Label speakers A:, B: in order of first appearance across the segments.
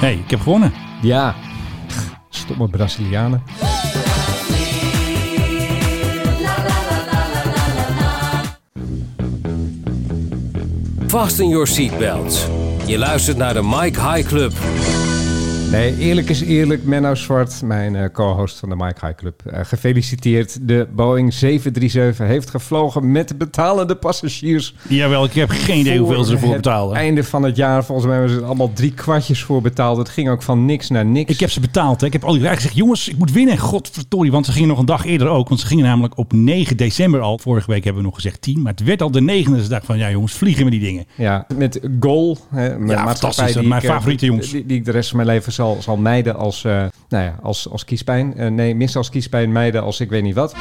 A: hey, ik heb gewonnen.
B: Ja. Stop met Brazilianen.
C: Fasten your seatbelts. Je luistert naar de Mike High Club.
B: Nee, eerlijk is eerlijk. Menno Zwart, mijn eh, co-host van de Mike High Club. Eh, gefeliciteerd. De Boeing 737 heeft gevlogen met betalende passagiers.
A: Jawel, ik heb geen idee hoeveel ze ervoor
B: het
A: betalen.
B: einde van het jaar. Volgens mij hebben ze er allemaal drie kwartjes voor betaald. Het ging ook van niks naar niks.
A: Ik heb ze betaald. Hè. Ik heb al die ik zeg, jongens, ik moet winnen. Godverdorie, want ze gingen nog een dag eerder ook. Want ze gingen namelijk op 9 december al. Vorige week hebben we nog gezegd 10. Maar het werd al de 9e. Dus ik dacht van, ja jongens, vliegen met die dingen.
B: Ja, met Goal. Hè, mijn
A: Ja,
B: maatschappij
A: fantastisch.
B: die
A: Mijn
B: ik, eh,
A: favoriete jongens.
B: Die, die ik de rest van mijn leven zal, zal mijden als, eh, nou ja, als, als kiespijn. Eh, nee, mis als kiespijn, mijden als ik weet niet wat.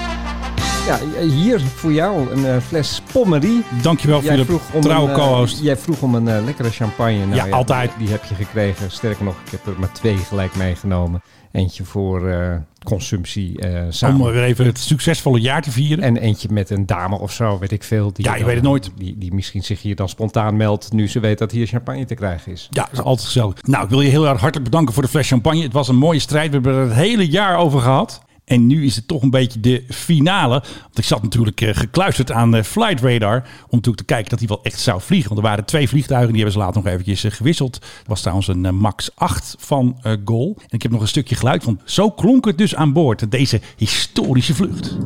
B: Ja, hier voor jou een eh, fles Pommery.
A: Dankjewel voor je trouwe
B: een, eh,
A: co-host.
B: jij vroeg om een eh, lekkere champagne. Nou
A: Ja, altijd.
B: Die heb je gekregen. Sterker nog, ik heb er maar twee gelijk meegenomen. Eentje voor eh, consumptie eh, samen.
A: Om weer even het succesvolle jaar te vieren.
B: En eentje met een dame of zo, weet ik veel. Die
A: Ja, je weet het nooit.
B: Die, die misschien zich hier dan spontaan meldt nu ze weet dat hier champagne te krijgen is.
A: Ja, dat is altijd gezellig. Nou, ik wil je heel erg hartelijk bedanken voor de fles champagne. Het was een mooie strijd. We hebben er het hele jaar over gehad. En nu is het toch een beetje de finale. Want ik zat natuurlijk eh, gekluisterd aan de Flight Radar. Om natuurlijk te kijken dat hij wel echt zou vliegen. Want er waren twee vliegtuigen. Die hebben ze later nog eventjes eh, gewisseld. Er was trouwens een eh, MAX 8 van eh Gol. En ik heb nog een stukje geluid van. Zo klonk het dus aan boord. Deze historische vlucht.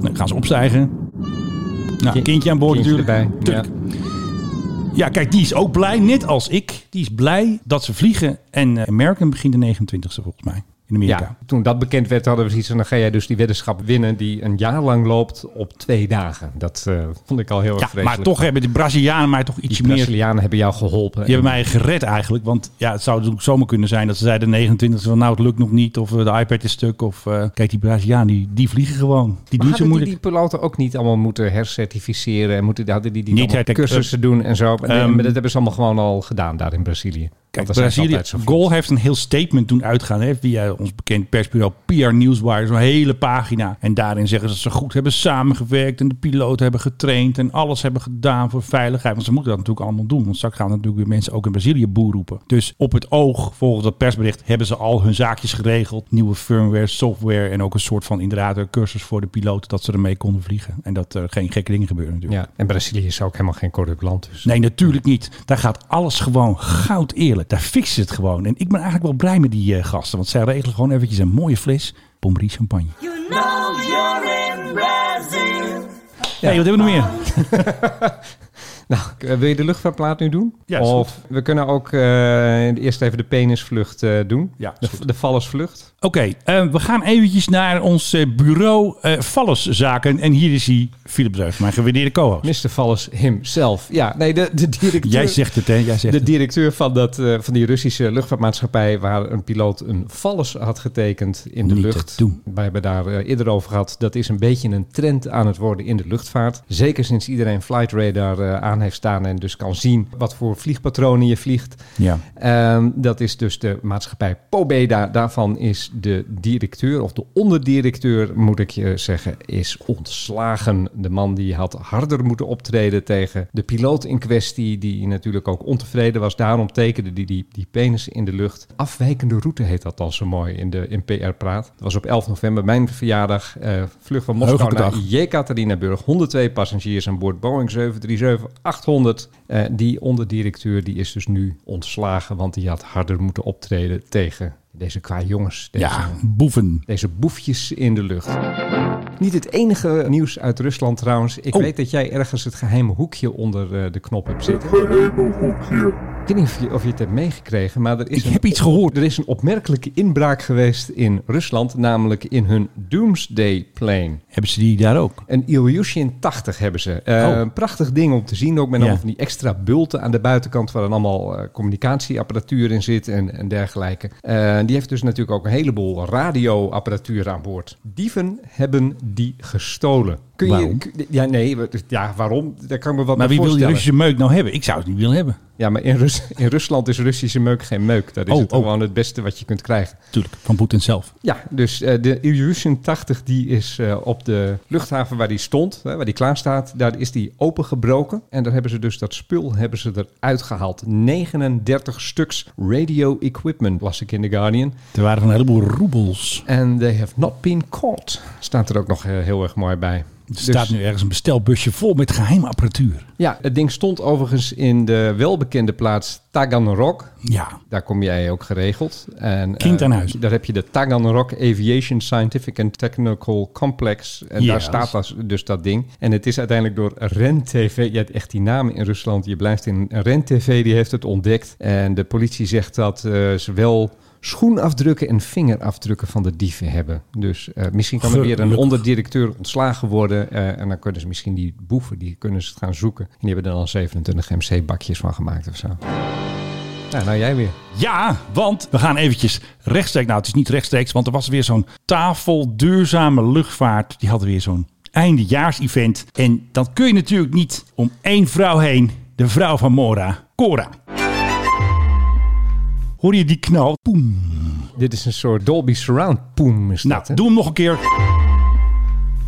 A: Nou, gaan ze opstijgen. Nou,
B: Kind-
A: kindje aan boord
B: Kindje
A: natuurlijk.
B: erbij.
A: Tuurlijk. Ja, kijk, die is ook blij, net als ik. Die is blij dat ze vliegen. En eh American begint de 29e volgens mij in
B: Ja.
A: Amerika.
B: ja, toen dat bekend werd hadden we zoiets van... dan ga jij dus die weddenschap winnen die een jaar lang loopt op twee dagen. Dat eh, vond ik al heel erg
A: Ja,
B: vreselijk.
A: maar toch hebben de Brazilianen mij toch ietsje
B: Die
A: meer... Die
B: Brazilianen hebben jou geholpen.
A: hebben mij gered eigenlijk. Want ja, het zou natuurlijk zomaar kunnen zijn dat ze zeiden de 29e van nou het lukt nog niet. Of eh, de iPad is stuk. Of eh, kijk die Brazilianen die, die vliegen gewoon. Die
B: Maar
A: doen zo
B: hadden die,
A: moeilijk.
B: die piloten ook niet allemaal moeten hercertificeren? En moeten, hadden die, die
A: Niet
B: allemaal
A: hertek-
B: cursussen doen en zo? Nee,
A: Ehm,
B: maar dat hebben ze allemaal gewoon al gedaan daar in Brazilië.
A: Kijk,
B: Want daar zijn ze
A: Brazilië,
B: altijd zo
A: Gol heeft een heel statement toen uitgaan. Hè, via ons bekend persbureau PR Newswire. Zo'n hele pagina. En daarin zeggen ze dat ze goed hebben samengewerkt. En de piloten hebben getraind. En alles hebben gedaan voor veiligheid. Want ze moeten dat natuurlijk allemaal doen. Want straks gaan natuurlijk weer mensen ook in Brazilië boer roepen. Dus op het oog, volgens dat persbericht, hebben ze al hun zaakjes geregeld. Nieuwe firmware, software. En ook een soort van inderdaad een cursus voor de piloten. Dat ze ermee konden vliegen. En dat er geen gekke dingen gebeuren natuurlijk.
B: Ja, en Brazilië is ook helemaal geen corrupt land. Dus.
A: Nee, natuurlijk niet. Daar gaat alles gewoon goud eerlijk. Daar fixen ze het gewoon. En ik ben eigenlijk wel blij met die eh, gasten. Want zij regelen gewoon eventjes een mooie fles Pommery champagne.
D: You know you're in Brazil.
A: Ja, wat hebben we nog meer?
B: Nou, eh, wil je de luchtvaartplaat nu doen?
A: Ja, is
B: of we kunnen ook eh, eerst even de penisvlucht eh, doen.
A: Ja, is
B: de, de vallersvlucht.
A: Oké, eh, we gaan eventjes naar ons eh, bureau eh Valleszaken. En hier is hij, Philip Dreug, mijn gewaardeerde co-host.
B: Mr. Valles himself. Ja, nee, de, de directeur...
A: Jij zegt het, hè? Jij zegt
B: De
A: het.
B: directeur van, dat, eh, van die Russische luchtvaartmaatschappij, waar een piloot een valles had getekend in de
A: Niet te
B: lucht.
A: doen.
B: We hebben daar eh, eerder over gehad. Dat is een beetje een trend aan het worden in de luchtvaart. Zeker sinds iedereen flight radar eh, aan heeft staan en dus kan zien wat voor vliegpatronen je vliegt.
A: Ja.
B: Ehm, dat is dus de maatschappij Pobeda. Daarvan is de directeur, of de onderdirecteur moet ik je zeggen, is ontslagen. De man die had harder moeten optreden tegen de piloot in kwestie, die natuurlijk ook ontevreden was. Daarom tekende die, die, die penis in de lucht. Afwijkende route heet dat dan zo mooi in, de, in PR-praat. Dat was op 11 november, mijn verjaardag. eh, vlucht van Moskou
A: Heugelijke
B: naar
A: dag.
B: Jekaterinburg. 102 passagiers aan boord Boeing 737-800. Eh, die onderdirecteur die is dus nu ontslagen, want die had harder moeten optreden tegen deze qua jongens. Deze,
A: ja, boeven.
B: Deze boefjes in de lucht. Niet het enige nieuws uit Rusland trouwens. Ik
A: Oh.
B: weet dat jij ergens het geheime hoekje onder eh, de knop hebt zitten. Ik weet niet of je, of je het hebt meegekregen, maar er is
A: Ik
B: een
A: heb iets gehoord.
B: er is een opmerkelijke inbraak geweest in Rusland, namelijk in hun Doomsday Plane.
A: Hebben ze die daar ook?
B: Een Ilyushin 80 hebben ze. Eh,
A: Oh.
B: Een prachtig ding om te zien, ook met
A: Ja.
B: allemaal van die extra bulten aan de buitenkant waar dan allemaal eh, communicatieapparatuur in zit en, en dergelijke. Eh, die heeft dus natuurlijk ook een heleboel radioapparatuur aan boord. Dieven hebben die gestolen. Kun
A: Waarom?
B: Je, kun- ja, nee, we- ja, waarom? Daar kan ik me wat
A: Maar
B: bij
A: wie wil die
B: voorstellen.
A: Russische meuk nou hebben? Ik zou het niet willen hebben.
B: Ja, maar in, Rus- in Rusland is Russische meuk geen meuk. Dat is
A: Oh,
B: het
A: oh.
B: gewoon het beste wat je kunt krijgen.
A: Tuurlijk, van Poetin zelf.
B: Ja, dus eh, de Ilyushin 80 die is eh, op de luchthaven waar die stond, hè, waar die klaar staat, daar is die opengebroken. En daar hebben ze dus dat spul hebben ze eruit gehaald. 39 stuks radio equipment las ik in The Guardian.
A: Er waren een heleboel roebels.
B: And they have not been caught. Staat er ook nog eh, heel erg mooi bij. Dus,
A: Er staat nu ergens een bestelbusje vol met geheime apparatuur.
B: Ja, het ding stond overigens in de welbekende plaats Taganrog.
A: Ja,
B: Daar kom jij ook geregeld. En,
A: Kind
B: eh,
A: aan huis.
B: Daar heb je de Taganrog Aviation Scientific and Technical Complex. En daar
A: Yes.
B: staat dat- dus dat ding. En het is uiteindelijk door RenTV. Je hebt echt die namen in Rusland. Je blijft in RenTV, die heeft het ontdekt. En de politie zegt dat eh, ze wel schoenafdrukken en vingerafdrukken van de dieven hebben. Dus eh, misschien kan er weer een
A: Gelukkig.
B: onderdirecteur ontslagen worden. eh, en dan kunnen ze misschien die boeven, die kunnen ze gaan zoeken. En die hebben er dan 27 MC-bakjes van gemaakt of zo. Nou, nou jij weer.
A: Ja, want we gaan eventjes rechtstreeks. Nou, het is niet rechtstreeks, want er was weer zo'n tafel duurzame luchtvaart. Die hadden weer zo'n eindejaars-event. En dan kun je natuurlijk niet om één vrouw heen. De vrouw van Mora, Cora. Hoor je die knal? Nou, Poem.
B: Dit is een soort Dolby Surround poem is dat,
A: Nou,
B: hè?
A: doe hem nog een keer.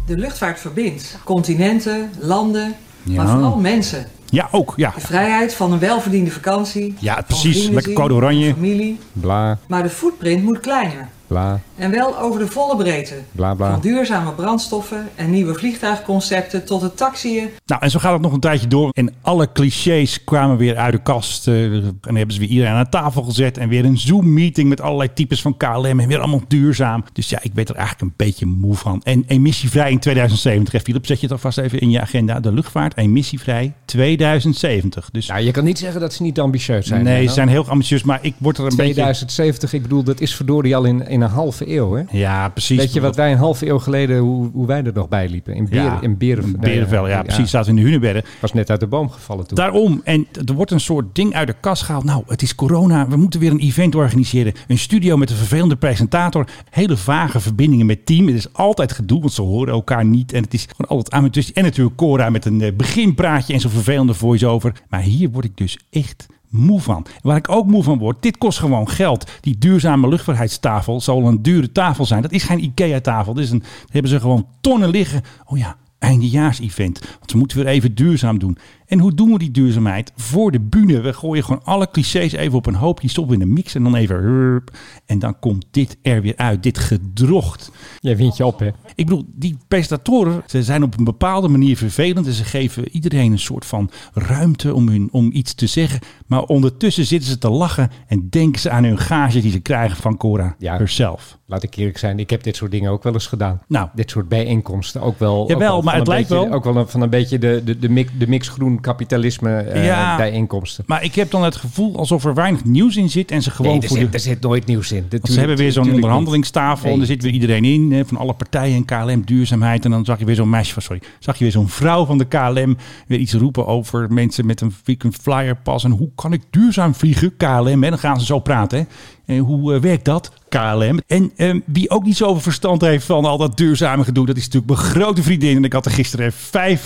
E: De luchtvaart verbindt continenten, landen,
A: Ja.
E: maar vooral mensen.
A: Ja, ook. Ja,
E: De vrijheid van een welverdiende vakantie.
A: Ja,
E: van
A: precies.
E: vrienden
A: Lekker
E: zien,
A: code oranje.
E: van Familie.
B: Bla,
E: Maar de footprint moet kleiner.
B: bla,
E: En wel over de volle breedte.
B: bla, bla.
E: Van duurzame brandstoffen en nieuwe vliegtuigconcepten tot het taxiën.
A: Nou, en zo gaat het nog een tijdje door. En alle clichés kwamen weer uit de kast. eh, en hebben ze weer iedereen aan tafel gezet. En weer een Zoom-meeting met allerlei types van KLM. En weer allemaal duurzaam. Dus ja, ik ben er eigenlijk een beetje moe van. En emissievrij in 2070. Hè, Philip, zet je het alvast even in je agenda. De luchtvaart emissievrij 2070. Dus
B: Nou, je kan niet zeggen dat ze niet ambitieus zijn.
A: nee,
B: Menno.
A: ze zijn heel ambitieus. Maar ik word er een beetje...
B: 2070, ik bedoel, dat is verdorie al in, in een halve eeuw, hè?
A: Ja, precies.
B: Weet je wat wij een halve eeuw geleden, hoe, hoe wij er nog bij liepen? In, Beer,
A: Ja,
B: in Berenvel.
A: Berenvel, ja, precies. Zaten in de Hunebedden.
B: Was net uit de boom gevallen toen.
A: Daarom, en er wordt een soort ding uit de kast gehaald. Nou, het is corona, we moeten weer een event organiseren. Een studio met een vervelende presentator. Hele vage verbindingen met team. Het is altijd gedoe, want ze horen elkaar niet. En het is gewoon altijd amateuristisch. En natuurlijk Cora met een eh, beginpraatje en zo'n vervelende voice-over. Maar hier word ik dus echt moe van. En Waar ik ook moe van word, dit kost gewoon geld. Die duurzame luchtvaardigheidstafel zal een dure tafel zijn. Dat is geen IKEA-tafel. Dit is een, daar hebben ze gewoon tonnen liggen. Oh ja, eindejaars-event. Want we moeten weer even duurzaam doen. En hoe doen we die duurzaamheid? Voor de bühne. We gooien gewoon alle clichés even op een hoop. Die stoppen we in de mix en dan even... hurp. En dan komt dit er weer uit. Dit gedrocht.
B: Jij wint je op, hè?
A: Ik bedoel, die presentatoren ze zijn op een bepaalde manier vervelend. En ze geven iedereen een soort van ruimte om, hun, om iets te zeggen. Maar ondertussen zitten ze te lachen en denken ze aan hun gage die ze krijgen van Cora
B: Ja.
A: herself.
B: Laat ik eerlijk zijn, ik heb dit soort dingen ook wel eens gedaan.
A: Nou.
B: Dit soort bijeenkomsten ook wel. ook
A: Jawel,
B: van
A: maar het
B: een
A: lijkt
B: beetje-
A: wel-
B: Ook wel een- van een beetje de, de, de, mix, de mix groen kapitalisme eh,
A: Ja.
B: bijeenkomsten.
A: Maar ik heb dan het gevoel alsof er weinig nieuws in zit. En ze gewoon
B: nee, er,
A: voor
B: zit,
A: de...
B: er zit nooit nieuws in.
A: Want ze hebben weer zo'n onderhandelingstafel en
B: Nee.
A: daar zit weer iedereen in. hè, Van alle partijen en KLM duurzaamheid. En dan zag je weer zo'n meisje, van- sorry, zag je weer zo'n vrouw van de KLM weer iets roepen over mensen met een frequent flyer pas. En hoe kan ik duurzaam vliegen, KLM? En dan gaan ze zo praten. Hè. En hoe eh, werkt dat, KLM? En ehm, wie ook niet zoveel verstand heeft van al dat duurzame gedoe, dat is natuurlijk mijn grote vriendin. En ik had er gisteren 50.000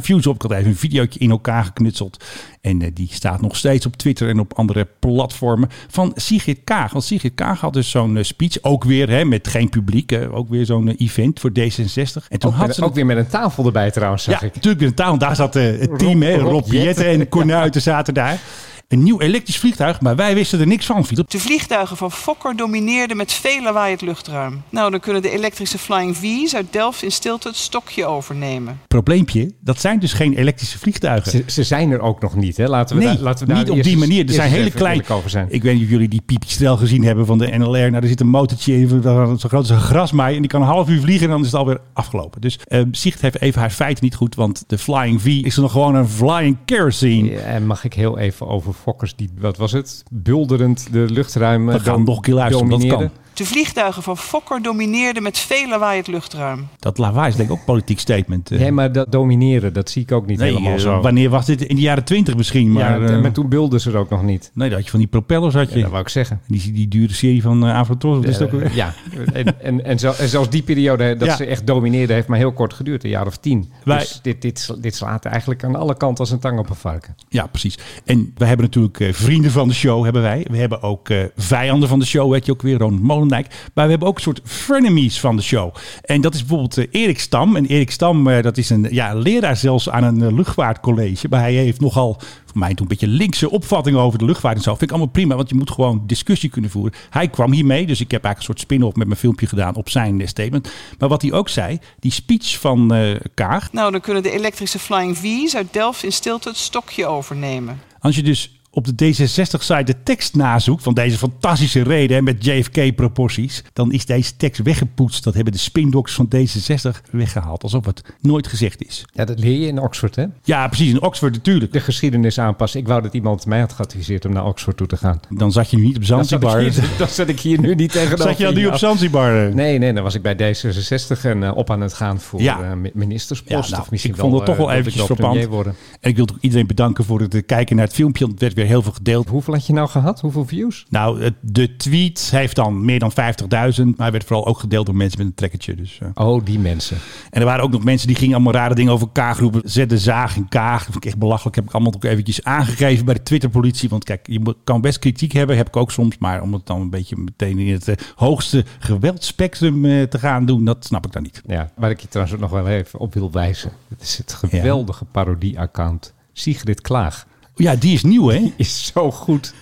A: views op. Ik had even een videootje in elkaar geknutseld. En eh, die staat nog steeds op Twitter en op andere platformen van Sigrid Kaag. Want Sigrid Kaag had dus zo'n eh, speech, ook weer hè, met geen publiek, hè, ook weer zo'n eh, event voor D66. En toen
B: Ook,
A: had
B: met-
A: ze
B: ook weer met een tafel erbij trouwens,
A: ja,
B: zag ik.
A: natuurlijk weer een taal. Daar zat eh, het team, hè,
B: Rob-
A: Rob,
B: Rob
A: Jetten
B: Jetten.
A: en Cornuiten zaten daar. Een nieuw elektrisch vliegtuig, maar wij wisten er niks van, Philip.
F: De vliegtuigen van Fokker domineerden met veel lawaai het luchtruim. Nou, dan kunnen de elektrische Flying V's uit Delft in stilte het stokje overnemen.
A: Probleempje, dat zijn dus geen elektrische vliegtuigen.
B: Ze, ze zijn er ook nog niet, hè? Laten we
A: nee,
B: daar, laten we daar
A: niet op
B: eerst
A: die
B: eens-
A: manier. Er
B: eerst
A: zijn
B: eens
A: hele
B: even
A: klein.
B: eerlijk Over zijn.
A: Ik weet niet of jullie die pipistrel gezien hebben van de NLR. Nou, er zit een motortje in, zo groot als een grasmaai. En die kan een half uur vliegen en dan is het alweer afgelopen. Dus eh Zicht heeft even haar feiten niet goed. Want de Flying V is nog gewoon een Flying Kerosene.
B: Ja, en mag ik heel even over Fokkers die, wat was het, bulderend de luchtruim eh,
A: We gaan
B: dom-
A: nog een keer luisteren, dat
B: domineerden?
A: kan.
F: De vliegtuigen van Fokker domineerden met veel lawaai het luchtruim.
A: Dat lawaai is denk ik ook een politiek statement. eh.
B: Nee, maar dat domineren, dat zie ik ook niet
A: Nee,
B: helemaal
A: eh,
B: zo.
A: wanneer was dit? In de jaren twintig misschien.
B: ja,
A: Maar, eh,
B: maar toen bulden ze er ook nog niet.
A: nee, dat had je van die propellers. Had je.
B: Ja, dat wou ik zeggen.
A: die, die dure serie van eh Avrotros. Wat is het ook weer?
B: Ja, en, en, en, zo, en zelfs die periode dat
A: Ja.
B: ze echt domineerden heeft maar heel kort geduurd, een jaar of tien.
A: Wij-
B: Dus dit, dit, sla- dit slaat eigenlijk aan alle kanten als een tang op een varken.
A: Ja, precies. En we hebben natuurlijk eh, vrienden van de show, hebben wij. We hebben ook eh, vijanden van de show, weet je ook weer, Ronald Molendijk. Maar we hebben ook een soort frenemies van de show. En dat is bijvoorbeeld eh, Erik Stam. En Erik Stam, eh, dat is een ja, leraar zelfs aan een eh, luchtvaartcollege. Maar hij heeft nogal, voor mij toen een beetje linkse opvattingen over de luchtvaart en zo. Vind ik allemaal prima, want je moet gewoon discussie kunnen voeren. Hij kwam hiermee, dus ik heb eigenlijk een soort spin-off met mijn filmpje gedaan op zijn eh, statement. Maar wat hij ook zei, die speech van eh, Kaag,
F: Nou, dan kunnen de elektrische Flying V's uit Delft in stilte het stokje overnemen.
A: Als je dus op de D66-site de tekst nazoekt van deze fantastische reden hè, met JFK-proporties, dan is deze tekst weggepoetst. Dat hebben de spindokters van D66 weggehaald, alsof het nooit gezegd is.
B: Ja, dat leer je in Oxford, hè?
A: Ja, precies, in Oxford natuurlijk.
B: De geschiedenis aanpassen. Ik wou dat iemand mij had geadviseerd om naar Oxford toe te gaan.
A: Dan zat je nu niet op
B: Dan zat, ik
A: Zanzibar.
B: hier, dan zat ik hier nu niet tegenover.
A: Zat je al nu op
B: iemand.
A: Zanzibar? eh?
B: Nee, nee, dan was ik bij D66 en eh, op aan het gaan voor
A: Ja.
B: eh, mi-
A: Ja,
B: ministerspost.
A: nou,
B: of misschien
A: ik vond het toch
B: eh,
A: wel
B: dat ik
A: eventjes
B: premier
A: verpand.
B: worden.
A: En ik wil toch iedereen bedanken voor het eh, kijken naar het filmpje. want Het werd weer heel veel gedeeld.
B: Hoeveel had je nou gehad? Hoeveel views?
A: Nou, het- de tweet heeft dan meer dan 50.000. Maar hij werd vooral ook gedeeld door mensen met een trekkertje. Dus, eh.
B: Oh, die mensen.
A: En er waren ook nog mensen die gingen allemaal rare dingen over Kaag roepen. Zet de zaag in Kaag. Dat vond ik echt belachelijk. Heb ik allemaal ook eventjes aangegeven bij de Twitterpolitie. Want kijk, je moet- kan best kritiek hebben. Heb ik ook soms. Maar om het dan een beetje meteen in het eh, hoogste geweldspectrum eh, te gaan doen, dat snap ik dan niet.
B: Ja, waar ik je trouwens ook nog wel even op wil wijzen. Het is het geweldige parodie-account Sigrid Klaag.
A: Ja, die is nieuw, hè?
B: Is zo goed.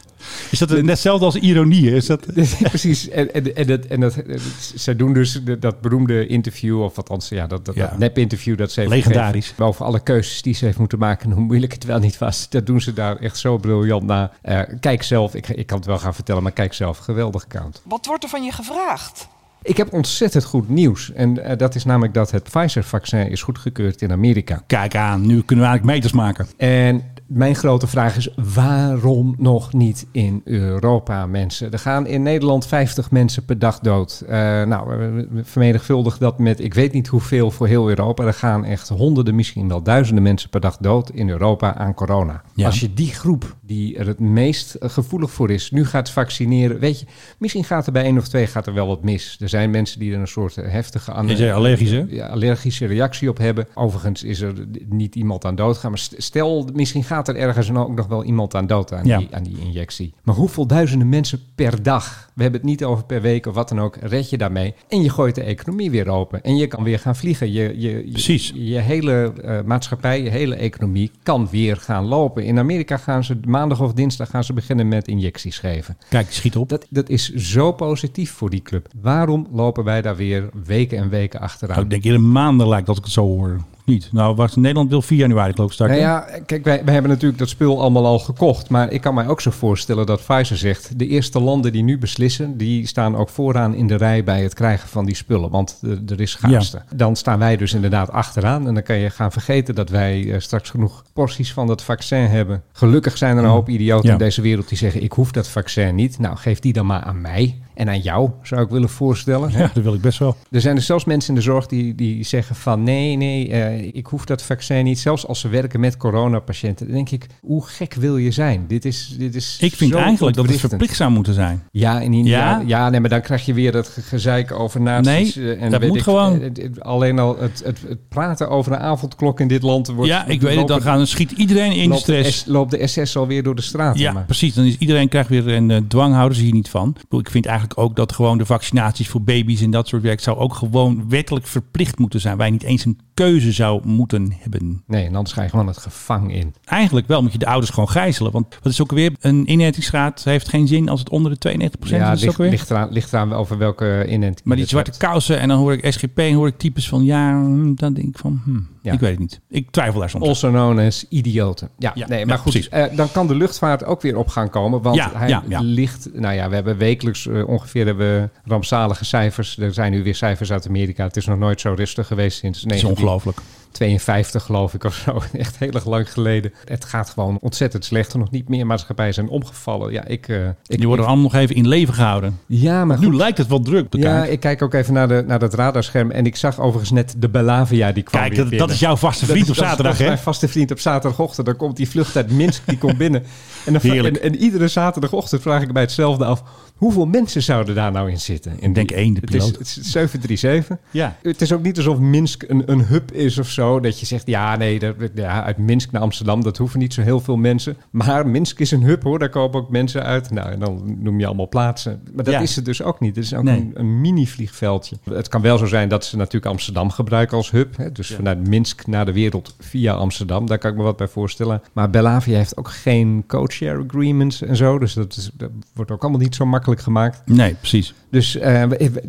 A: Is dat eh, net hetzelfde als ironie? hè? Is dat...
B: Precies. En, en, en, dat, en dat, eh, zij doen dus de- dat beroemde interview, of althans ja, dat, dat,
A: Ja.
B: dat nep-interview dat ze heeft
A: Legendarisch.
B: gegeven over alle keuzes die ze heeft moeten maken en hoe moeilijk het wel niet was. Dat doen ze daar echt zo briljant na. Eh, kijk zelf, ik, ik kan het wel gaan vertellen, maar kijk zelf. Geweldig account.
F: Wat wordt er van je gevraagd?
B: Ik heb ontzettend goed nieuws. En eh, dat is namelijk dat het Pfizer-vaccin is goedgekeurd in Amerika.
A: Kijk aan, nu kunnen we eigenlijk meters maken.
B: En mijn grote vraag is, waarom nog niet in Europa, mensen? Er gaan in Nederland 50 mensen per dag dood. Eh, nou, eh, vermenigvuldig dat met ik weet niet hoeveel voor heel Europa. Er gaan echt honderden, misschien wel duizenden mensen per dag dood in Europa aan corona.
A: Ja.
B: Als je die groep die er het meest eh, gevoelig voor is, nu gaat vaccineren. Weet je, misschien gaat er bij één of twee gaat er wel wat mis. Er zijn mensen die er een soort eh, heftige... aan-
A: Is hij allergisch, hè?
B: ja, allergische reactie op hebben. Overigens is er niet iemand aan dood gaan. Maar st- stel, misschien gaat er ergens nou ook nog wel iemand aan dood aan,
A: Ja.
B: die, aan die injectie. Maar hoeveel duizenden mensen per dag? We hebben het niet over per week of wat dan ook. Red je daarmee. En je gooit de economie weer open. En je kan weer gaan vliegen. Je, je, je-
A: Precies.
B: Je, hele eh, maatschappij, je hele economie kan weer gaan lopen. In Amerika gaan ze maandag of dinsdag gaan ze beginnen met injecties geven.
A: Kijk, schiet op.
B: Dat, dat is zo positief voor die club. Waarom lopen wij daar weer weken en weken achteraan?
A: Nou, ik denk in een maanden lijkt dat ik het zo hoor. Niet. Nou, wacht, Nederland wil 4 januari geloof ik starten.
B: Nou ja, kijk, wij, wij hebben natuurlijk dat spul allemaal al gekocht. Maar ik kan mij ook zo voorstellen dat Pfizer zegt... de eerste landen die nu beslissen... die staan ook vooraan in de rij bij het krijgen van die spullen. Want eh, er is schaarste. Dan staan wij dus inderdaad achteraan. En dan kan je gaan vergeten dat wij eh, straks genoeg porties van dat vaccin hebben. Gelukkig zijn er een hoop idioten
A: Mm. Ja.
B: in deze wereld die zeggen... ik hoef dat vaccin niet. Nou, geef die dan maar aan mij. En aan jou, zou ik willen voorstellen.
A: Ja, dat wil ik best wel.
B: Er zijn dus zelfs mensen in de zorg die, die zeggen van nee, nee, eh, ik hoef dat vaccin niet. Zelfs als ze werken met coronapatiënten, dan denk ik, hoe gek wil je zijn? Dit is, dit is
A: Ik vind
B: zo
A: eigenlijk dat het
B: ontwrichtend.
A: verplicht zou moeten zijn.
B: Ja, in India.
A: Ja?
B: Ja, nee, maar dan krijg je weer dat ge- gezeik over nazi's.
A: Nee,
B: eh,
A: dat moet gewoon.
B: eh, eh, Alleen al het, het, het praten over een avondklok in dit land wordt...
A: Ja, ik weet het. Dan
B: lopen-
A: gaan, schiet iedereen in de
B: loopt de,
A: stress.
B: S, loopt de SS alweer door de straat.
A: Ja, precies. Dan is iedereen krijgt weer een eh, dwang, houden ze hier niet van. Ik bedoel, Ik vind eigenlijk ook dat gewoon de vaccinaties voor baby's en dat soort werk zou ook gewoon wettelijk verplicht moeten zijn. Wij niet eens een keuze zou moeten hebben.
B: Nee, en anders ga je gewoon het gevang in.
A: Eigenlijk wel moet je de ouders gewoon gijzelen. Want wat is ook weer, een inheringsgraad heeft geen zin als het onder de 92% is.
B: Ja,
A: is. ook
B: ligt,
A: weer.
B: ligt, eraan, ligt eraan over welke inenting.
A: Maar die
B: je het
A: zwarte
B: hebt.
A: kousen en dan hoor ik SGP en hoor ik types van ja, hm, dan denk ik van hm,
B: Ja.
A: ik weet het niet. Ik twijfel daar soms. aan.
B: Also known as idioten. Ja,
A: Ja,
B: nee, maar
A: ja,
B: goed.
A: precies.
B: eh, dan kan de luchtvaart ook weer op gaan komen. Want
A: Ja,
B: hij
A: ja, ja.
B: ligt... Nou ja, we hebben wekelijks eh, ongeveer hebben we rampzalige cijfers. Er zijn nu weer cijfers uit Amerika. Het is nog nooit zo rustig geweest sinds
A: Dat is
B: 19,
A: ongelooflijk.
B: 52 geloof ik of zo. Echt heel erg lang geleden. Het gaat gewoon ontzettend slecht. Er nog niet meer maatschappijen zijn omgevallen. Ja, ik, eh, ik,
A: Die worden allemaal nog even in leven gehouden.
B: ja maar
A: Nu lijkt het wel druk. de
B: Ja,
A: kaart.
B: ik kijk ook even naar, de, naar dat radarscherm. En ik zag overigens net de Belavia die kwam
A: Kijk,
B: weer
A: dat, dat
B: binnen.
A: is jouw vaste
B: Dat
A: vriend
B: is-
A: op
B: dat is
A: zaterdag,
B: volgens
A: hè?
B: Mijn vaste vriend op zaterdagochtend. Dan komt die vlucht uit Minsk, die komt binnen. En, dan, vra-
A: Heerlijk.
B: en, en iedere zaterdagochtend vraag ik bij hetzelfde af... hoeveel mensen zouden daar nou in zitten? En
A: denk één, de
B: het is,
A: piloot.
B: het is 737.
A: Ja.
B: Het is ook niet alsof Minsk een, een hub is of zo. Dat je zegt, ja, nee, dat, ja, uit Minsk naar Amsterdam... dat hoeven niet zo heel veel mensen. Maar Minsk is een hub, hoor. Daar komen ook mensen uit. Nou, en dan noem je allemaal plaatsen. Maar dat
A: Ja.
B: is het dus ook niet. Het is ook
A: Nee.
B: een, een mini-vliegveldje. Het kan wel zo zijn dat ze natuurlijk Amsterdam gebruiken als hub. Hè? Dus vanuit Minsk naar de wereld via Amsterdam. Daar kan ik me wat bij voorstellen. Maar Belavia heeft ook geen co-share agreements en zo. Dus dat, is, dat wordt ook allemaal niet zo makkelijk gemaakt.
A: Nee, precies.
B: Dus eh,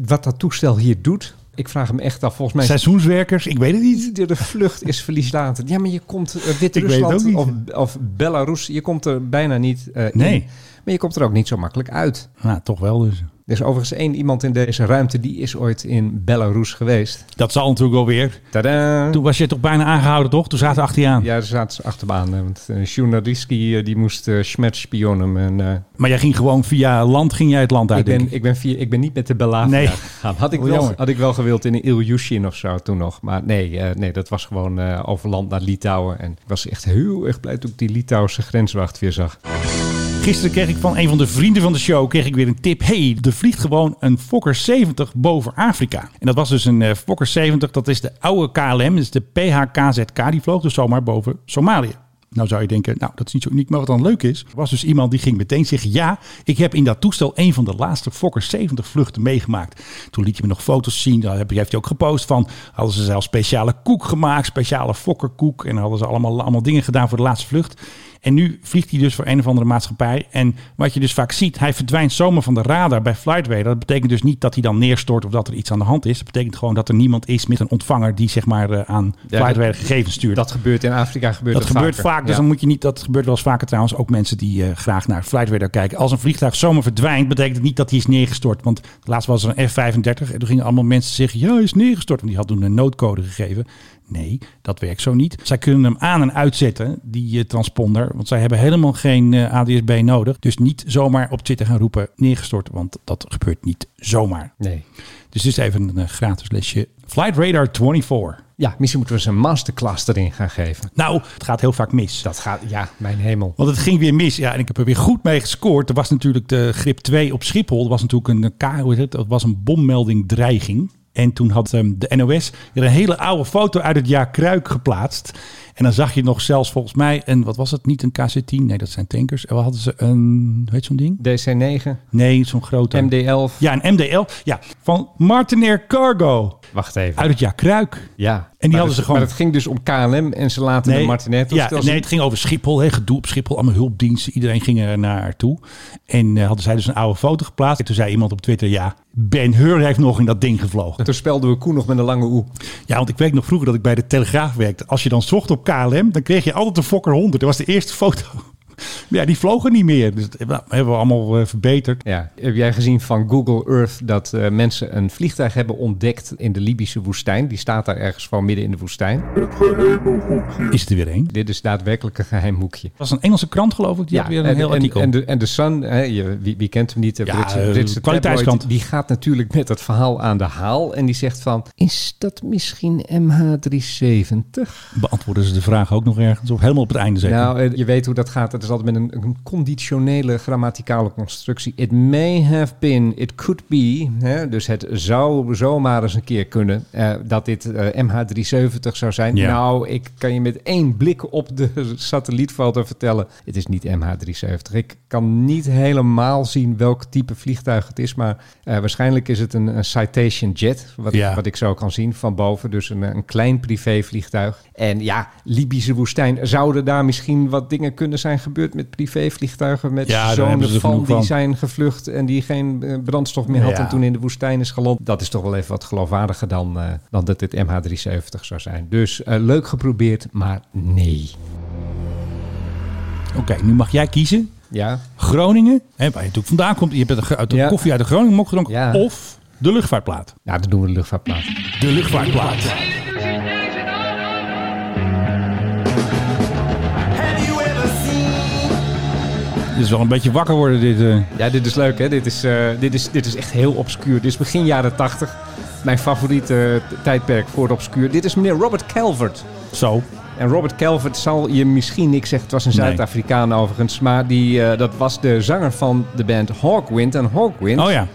B: wat dat toestel hier doet... Ik vraag hem echt af, volgens mij...
A: Seizoenswerkers, ik weet het niet.
B: De, de vlucht is verlieslatend. Ja, maar je komt eh,
A: Ik
B: Wit-Rusland
A: weet het
B: of,
A: ook
B: of Belarus, je komt er bijna niet eh,
A: Nee.
B: in. Maar je komt er ook niet zo makkelijk uit.
A: Nou, toch wel dus.
B: Er is overigens één iemand in deze ruimte die is ooit in Belarus geweest.
A: Dat zal natuurlijk wel weer.
B: Tadaa!
A: Toen was je toch bijna aangehouden, toch? Toen zaten achter je aan.
B: Ja, daar zaten ze achter me aan. hè, Want eh Journalistski eh, die moest uh, schmerspionen. En, eh,
A: Maar jij ging gewoon via land, ging jij het land uit,
B: ik,
A: denk
B: ben,
A: ik.
B: ik, ben via, ik ben niet met de Belavia
A: Nee.
B: gegaan. Had ik,
A: Oh,
B: wel,
A: jammer.
B: had ik wel gewild in een Ilyushin of zo toen nog. Maar nee, eh, nee dat was gewoon eh, over land naar Litouwen. En ik was echt heel erg blij toen ik die Litouwse grenswacht weer zag.
A: Gisteren kreeg ik van een van de vrienden van de show kreeg ik weer een tip. hey, er vliegt gewoon een Fokker 70 boven Afrika. En dat was dus een eh, Fokker 70, dat is de oude KLM, dat is de PHKZK. Die vloog dus zomaar boven Somalië. Nou zou je denken, nou dat is niet zo uniek, maar wat dan leuk is, was dus iemand die ging meteen zeggen, ja, ik heb in dat toestel een van de laatste Fokker 70 vluchten meegemaakt. Toen liet hij me nog foto's zien, daar heb- heeft hij ook gepost van, hadden ze zelf speciale koek gemaakt, speciale Fokkerkoek en hadden ze allemaal, allemaal dingen gedaan voor de laatste vlucht. En nu vliegt hij dus voor een of andere maatschappij. En wat je dus vaak ziet, hij verdwijnt zomaar van de radar bij Flightradar. Dat betekent dus niet dat hij dan neerstort of dat er iets aan de hand is. Dat betekent gewoon dat er niemand is met een ontvanger die zeg maar eh, aan
B: dat-
A: Flightradar gegevens stuurt.
B: Dat gebeurt in Afrika. Gebeurt
A: Dat gebeurt
B: vaker.
A: vaak, dus
B: Ja.
A: dan moet je niet. Dat gebeurt wel eens vaker trouwens. Ook mensen die eh, graag naar Flightradar kijken. Als een vliegtuig zomaar verdwijnt, betekent het niet dat hij is neergestort. Want laatst was er een F-35 en toen gingen allemaal mensen zeggen: ja, hij is neergestort. Want die had toen een noodcode gegeven. Nee, dat werkt zo niet. Zij kunnen hem aan en uitzetten, die eh, transponder. Want zij hebben helemaal geen eh, ADS-B nodig. Dus niet zomaar op zitten gaan roepen neergestort. Want dat gebeurt niet zomaar.
B: Nee.
A: Dus dit is even een eh, gratis lesje. Flight Radar 24.
B: Ja, misschien moeten we eens een masterclass erin gaan geven.
A: Nou, het gaat heel vaak mis.
B: Dat gaat, ja, mijn hemel.
A: Want het ging weer mis. Ja, en ik heb er weer goed mee gescoord. Er was natuurlijk de grip 2 op Schiphol. Er was natuurlijk een, eh, K, hoe heet het? Dat was een bommelding dreiging. En toen had ehm, de NOS weer een hele oude foto uit het jaar Kruik geplaatst. En dan zag je nog zelfs volgens mij een, wat was het? Niet een KC-10. Nee, dat zijn tankers. En wat hadden ze een, hoe heet zo'n ding?
B: DC-9,
A: Nee, zo'n grote.
B: MD-11.
A: Ja, een MDL. Ja, van Martin Air Cargo.
B: Wacht even.
A: Uit het jaar Kruik.
B: Ja. En
A: die hadden ze gewoon-
B: Maar het ging dus om KLM en ze laten de Martinet.
A: ja, nee, het ging over Schiphol. Hè, gedoe op Schiphol. Allemaal hulpdiensten. Iedereen ging er naartoe. En eh, hadden zij dus een oude foto geplaatst. En toen zei iemand op Twitter... Ja, Ben Hur heeft nog in dat ding gevlogen.
B: Toen spelden we Koen nog met een lange oe.
A: Ja, want ik weet nog vroeger dat ik bij de Telegraaf werkte. Als je dan zocht op KLM, dan kreeg je altijd een Fokker 100. Dat was de eerste foto. Maar Ja, die vlogen niet meer. Dus dat hebben we- hebben we allemaal eh, verbeterd.
B: Ja. Heb jij gezien van Google Earth dat eh, mensen een vliegtuig hebben ontdekt in de Libische woestijn? Die staat daar ergens van midden in de woestijn.
A: Is het er weer één?
B: Dit is daadwerkelijk een geheim hoekje.
A: Dat was een Engelse krant, geloof ik. Die had weer een
B: en,
A: heel
B: en-
A: artikel.
B: En de, en de Sun, hè, je, wie, wie kent hem niet, de
A: Ja,
B: Britse,
A: eh,
B: Britse
A: kwaliteitskant.
B: tabloid, die gaat natuurlijk met dat verhaal aan de haal. En die zegt van, is dat misschien MH370?
A: Beantwoorden ze de vraag ook nog ergens? Of helemaal op het einde zeker?
B: Nou, eh, je weet hoe dat gaat. Het is altijd met een, een conditionele grammaticale constructie. It may have been, it could be. Hè? Dus het zou zomaar eens een keer kunnen eh, dat dit eh, MH370 zou zijn.
A: Ja.
B: Nou, ik kan je met één blik op de satellietfoto vertellen. Het is niet MH370. Ik kan niet helemaal zien welk type vliegtuig het is. Maar eh, waarschijnlijk is het een, een Citation Jet. Wat,
A: Ja.
B: wat ik zo kan zien van boven. Dus een, een klein privévliegtuig. En ja, Libische woestijn. Zouden daar misschien wat dingen kunnen zijn gebeurd met privévliegtuigen? Met
A: Ja, daar hebben
B: zonen
A: ze
B: van
A: genoeg
B: die
A: van.
B: zijn gevlucht en die geen eh, brandstof meer had
A: Ja.
B: en toen in de woestijn is geland. Dat is toch wel even wat geloofwaardiger dan, eh, dan dat dit MH370 zou zijn. Dus eh, leuk geprobeerd, maar nee.
A: Oké, nu mag jij kiezen.
B: Ja,
A: Groningen, hè, waar je natuurlijk vandaan komt. Je hebt uit de
B: Ja.
A: koffie uit de Groningen mok gedronken.
B: Ja.
A: Of de luchtvaartplaat.
B: ja dan doen we de luchtvaartplaat.
A: De luchtvaartplaat. Dit is wel een beetje wakker worden dit. eh.
B: Ja, dit is leuk hè. Dit is, eh, dit is, dit is echt heel obscuur. Dit is begin jaren 80. Mijn favoriete eh, tijdperk voor het obscuur. Dit is meneer Robert Calvert.
A: Zo.
B: En Robert Calvert zal je misschien niks zeggen. Het was een
A: Nee.
B: Zuid-Afrikaan overigens. Maar die, eh, dat was de zanger van de band Hawkwind. En Hawkwind
A: Oh ja.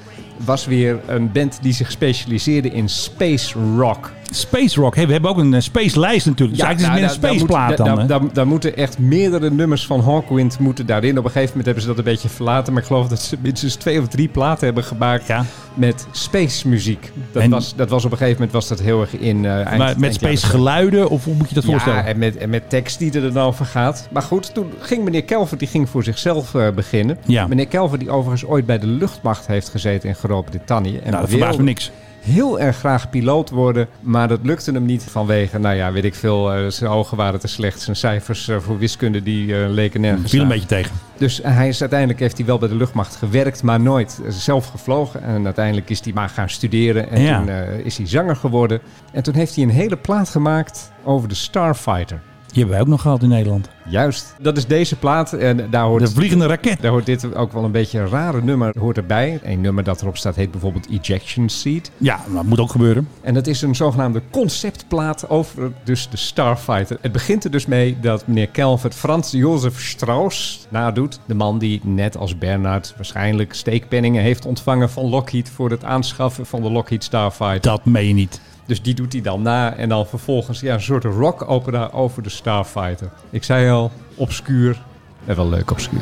B: was weer een band die zich specialiseerde in space rock.
A: Space Rock. Hey, we hebben ook een eh, Space lijst natuurlijk. Dus eigenlijk is het meer
B: nou,
A: een
B: daar-
A: Space plaat
B: daar
A: dan.
B: moet-
A: hè?
B: Daar, daar, daar moeten echt meerdere nummers van Hawkwind moeten daarin. Op een gegeven moment hebben ze dat een beetje verlaten. Maar ik geloof dat ze minstens twee of drie platen hebben gemaakt
A: Ja.
B: met space muziek. Dat,
A: En-
B: was, dat was op een gegeven moment was dat heel erg in... eh, eind-
A: Maar met
B: eind jaren
A: Space geluiden of hoe moet je dat
B: ja,
A: voorstellen?
B: en met, en met tekst die er dan over gaat. Maar goed, toen ging meneer Kelver, die ging voor zichzelf eh, beginnen.
A: Ja.
B: Meneer Kelver, die overigens ooit bij de luchtmacht heeft gezeten in Groot-Brittannië. En
A: Nou, dat verbaast me
B: wilde
A: niks.
B: heel erg graag piloot worden, maar dat lukte hem niet vanwege, nou ja, weet ik veel, eh, zijn ogen waren te slecht. Zijn cijfers eh, voor wiskunde, die eh, leken nergens
A: Viel een
B: aan.
A: beetje tegen.
B: Dus hij is, uiteindelijk heeft hij wel bij de luchtmacht gewerkt, maar nooit zelf gevlogen. En uiteindelijk is hij maar gaan studeren en
A: Ja.
B: toen eh, is hij zanger geworden. En toen heeft hij een hele plaat gemaakt over de Starfighter.
A: Die hebben wij ook nog gehad in Nederland.
B: Juist. Dat is deze plaat. En daar
A: De
B: hoort,
A: vliegende raket.
B: daar hoort dit ook wel een beetje een rare nummer hoort erbij. Een nummer dat erop staat heet bijvoorbeeld Ejection Seat.
A: Ja, dat moet ook gebeuren.
B: En dat is een zogenaamde conceptplaat over dus de Starfighter. Het begint er dus mee dat meneer Calvert Frans Jozef Strauss nadoet. De man die net als Bernard waarschijnlijk steekpenningen heeft ontvangen van Lockheed... voor het aanschaffen van de Lockheed Starfighter.
A: Dat meen je niet.
B: Dus die doet hij dan na en dan vervolgens ja, een soort rock opera over de Starfighter. Ik zei al, obscuur. En wel leuk obscuur.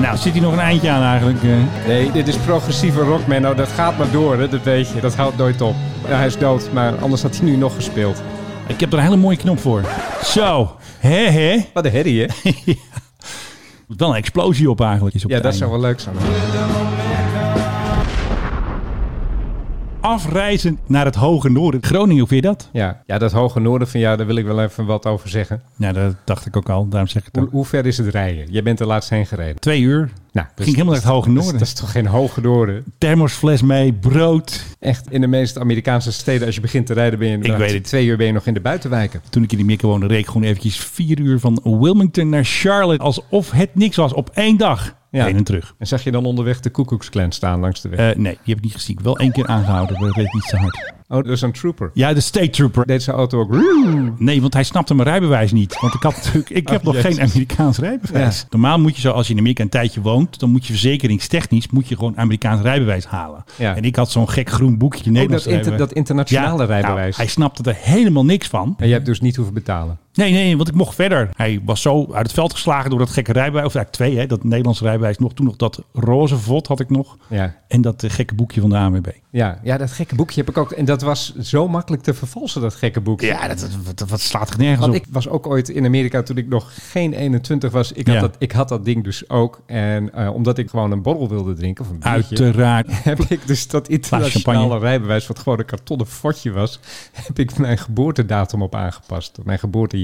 A: Nou, zit hier nog een eindje aan eigenlijk. eh?
B: Nee, dit is progressieve rock, Menno. Dat gaat maar door, hè? dat weet je. Dat houdt nooit op. Ja, hij is dood, maar anders had hij nu nog gespeeld.
A: Ik heb er een hele mooie knop voor. Zo. Hè, hè.
B: Wat een herrie, hè?
A: Dan een explosie op eigenlijk. Is op
B: Ja,
A: het
B: dat
A: einde.
B: zou wel leuk zijn.
A: Afreizen naar het hoge noorden. Groningen, hoe vind je dat?
B: Ja, ja dat hoge noorden van jou, daar wil ik wel even wat over zeggen.
A: Nou, dat dacht ik ook al. Daarom zeg ik het
B: Hoe,
A: ook.
B: hoe ver is het rijden? Jij bent er laatst heen gereden.
A: Twee uur.
B: Nou, dat is-
A: ging helemaal naar het hoge
B: Dat is,
A: noorden.
B: dat is toch geen hoge noorden?
A: Thermosfles mee, brood.
B: Echt, in de meeste Amerikaanse steden, als je begint te rijden, ben je inderdaad
A: weet het.
B: twee uur ben je nog in de buitenwijken.
A: Toen ik in die Mikke woonde, reed ik gewoon eventjes vier uur van Wilmington naar Charlotte. Alsof het niks was op één dag.
B: Ja.
A: Heen en terug.
B: En zag je dan onderweg de Koekoeksclan staan langs de weg?
A: Eh, nee, die heb ik niet gezien. Ik heb Wel één keer aangehouden, maar dat reed niet zo hard.
B: oh, dat is een trooper.
A: Ja, de state trooper.
B: Deed zijn auto ook... "Roem."
A: Nee, want hij snapte mijn rijbewijs niet. Want ik, had natuurlijk, ik heb
B: Oh,
A: nog
B: jezus.
A: geen Amerikaans rijbewijs.
B: Ja.
A: Normaal moet je zo, als je in Amerika een tijdje woont, dan moet je verzekeringstechnisch moet je gewoon Amerikaans rijbewijs halen.
B: Ja.
A: En ik had zo'n gek groen boekje Nederlands
B: inter-
A: rijbewijs.
B: dat internationale
A: nou,
B: rijbewijs.
A: hij snapte er helemaal niks van.
B: En je hebt dus niet hoeven betalen.
A: Nee, nee, want ik mocht verder. Hij was zo uit het veld geslagen door dat gekke rijbewijs. Of eigenlijk twee, hè, dat Nederlandse rijbewijs nog. Toen nog dat roze vod had ik nog.
B: Ja.
A: En dat eh, gekke boekje van de ANWB.
B: Ja, ja, dat gekke boekje heb ik ook. En dat was zo makkelijk te vervalsen, dat gekke boekje.
A: Ja, dat, dat, dat- dat slaat er nergens
B: Want
A: op.
B: ik was ook ooit in Amerika toen ik nog geen 21 was. Ik had,
A: Ja.
B: dat, ik had dat ding dus ook. En eh, omdat ik gewoon een borrel wilde drinken, of een biertje,
A: Uiteraard.
B: heb ik dus dat internationale
A: champagne.
B: rijbewijs, wat gewoon een kartonnen fotje was, heb ik mijn geboortedatum op aangepast. Mijn geboortejaar.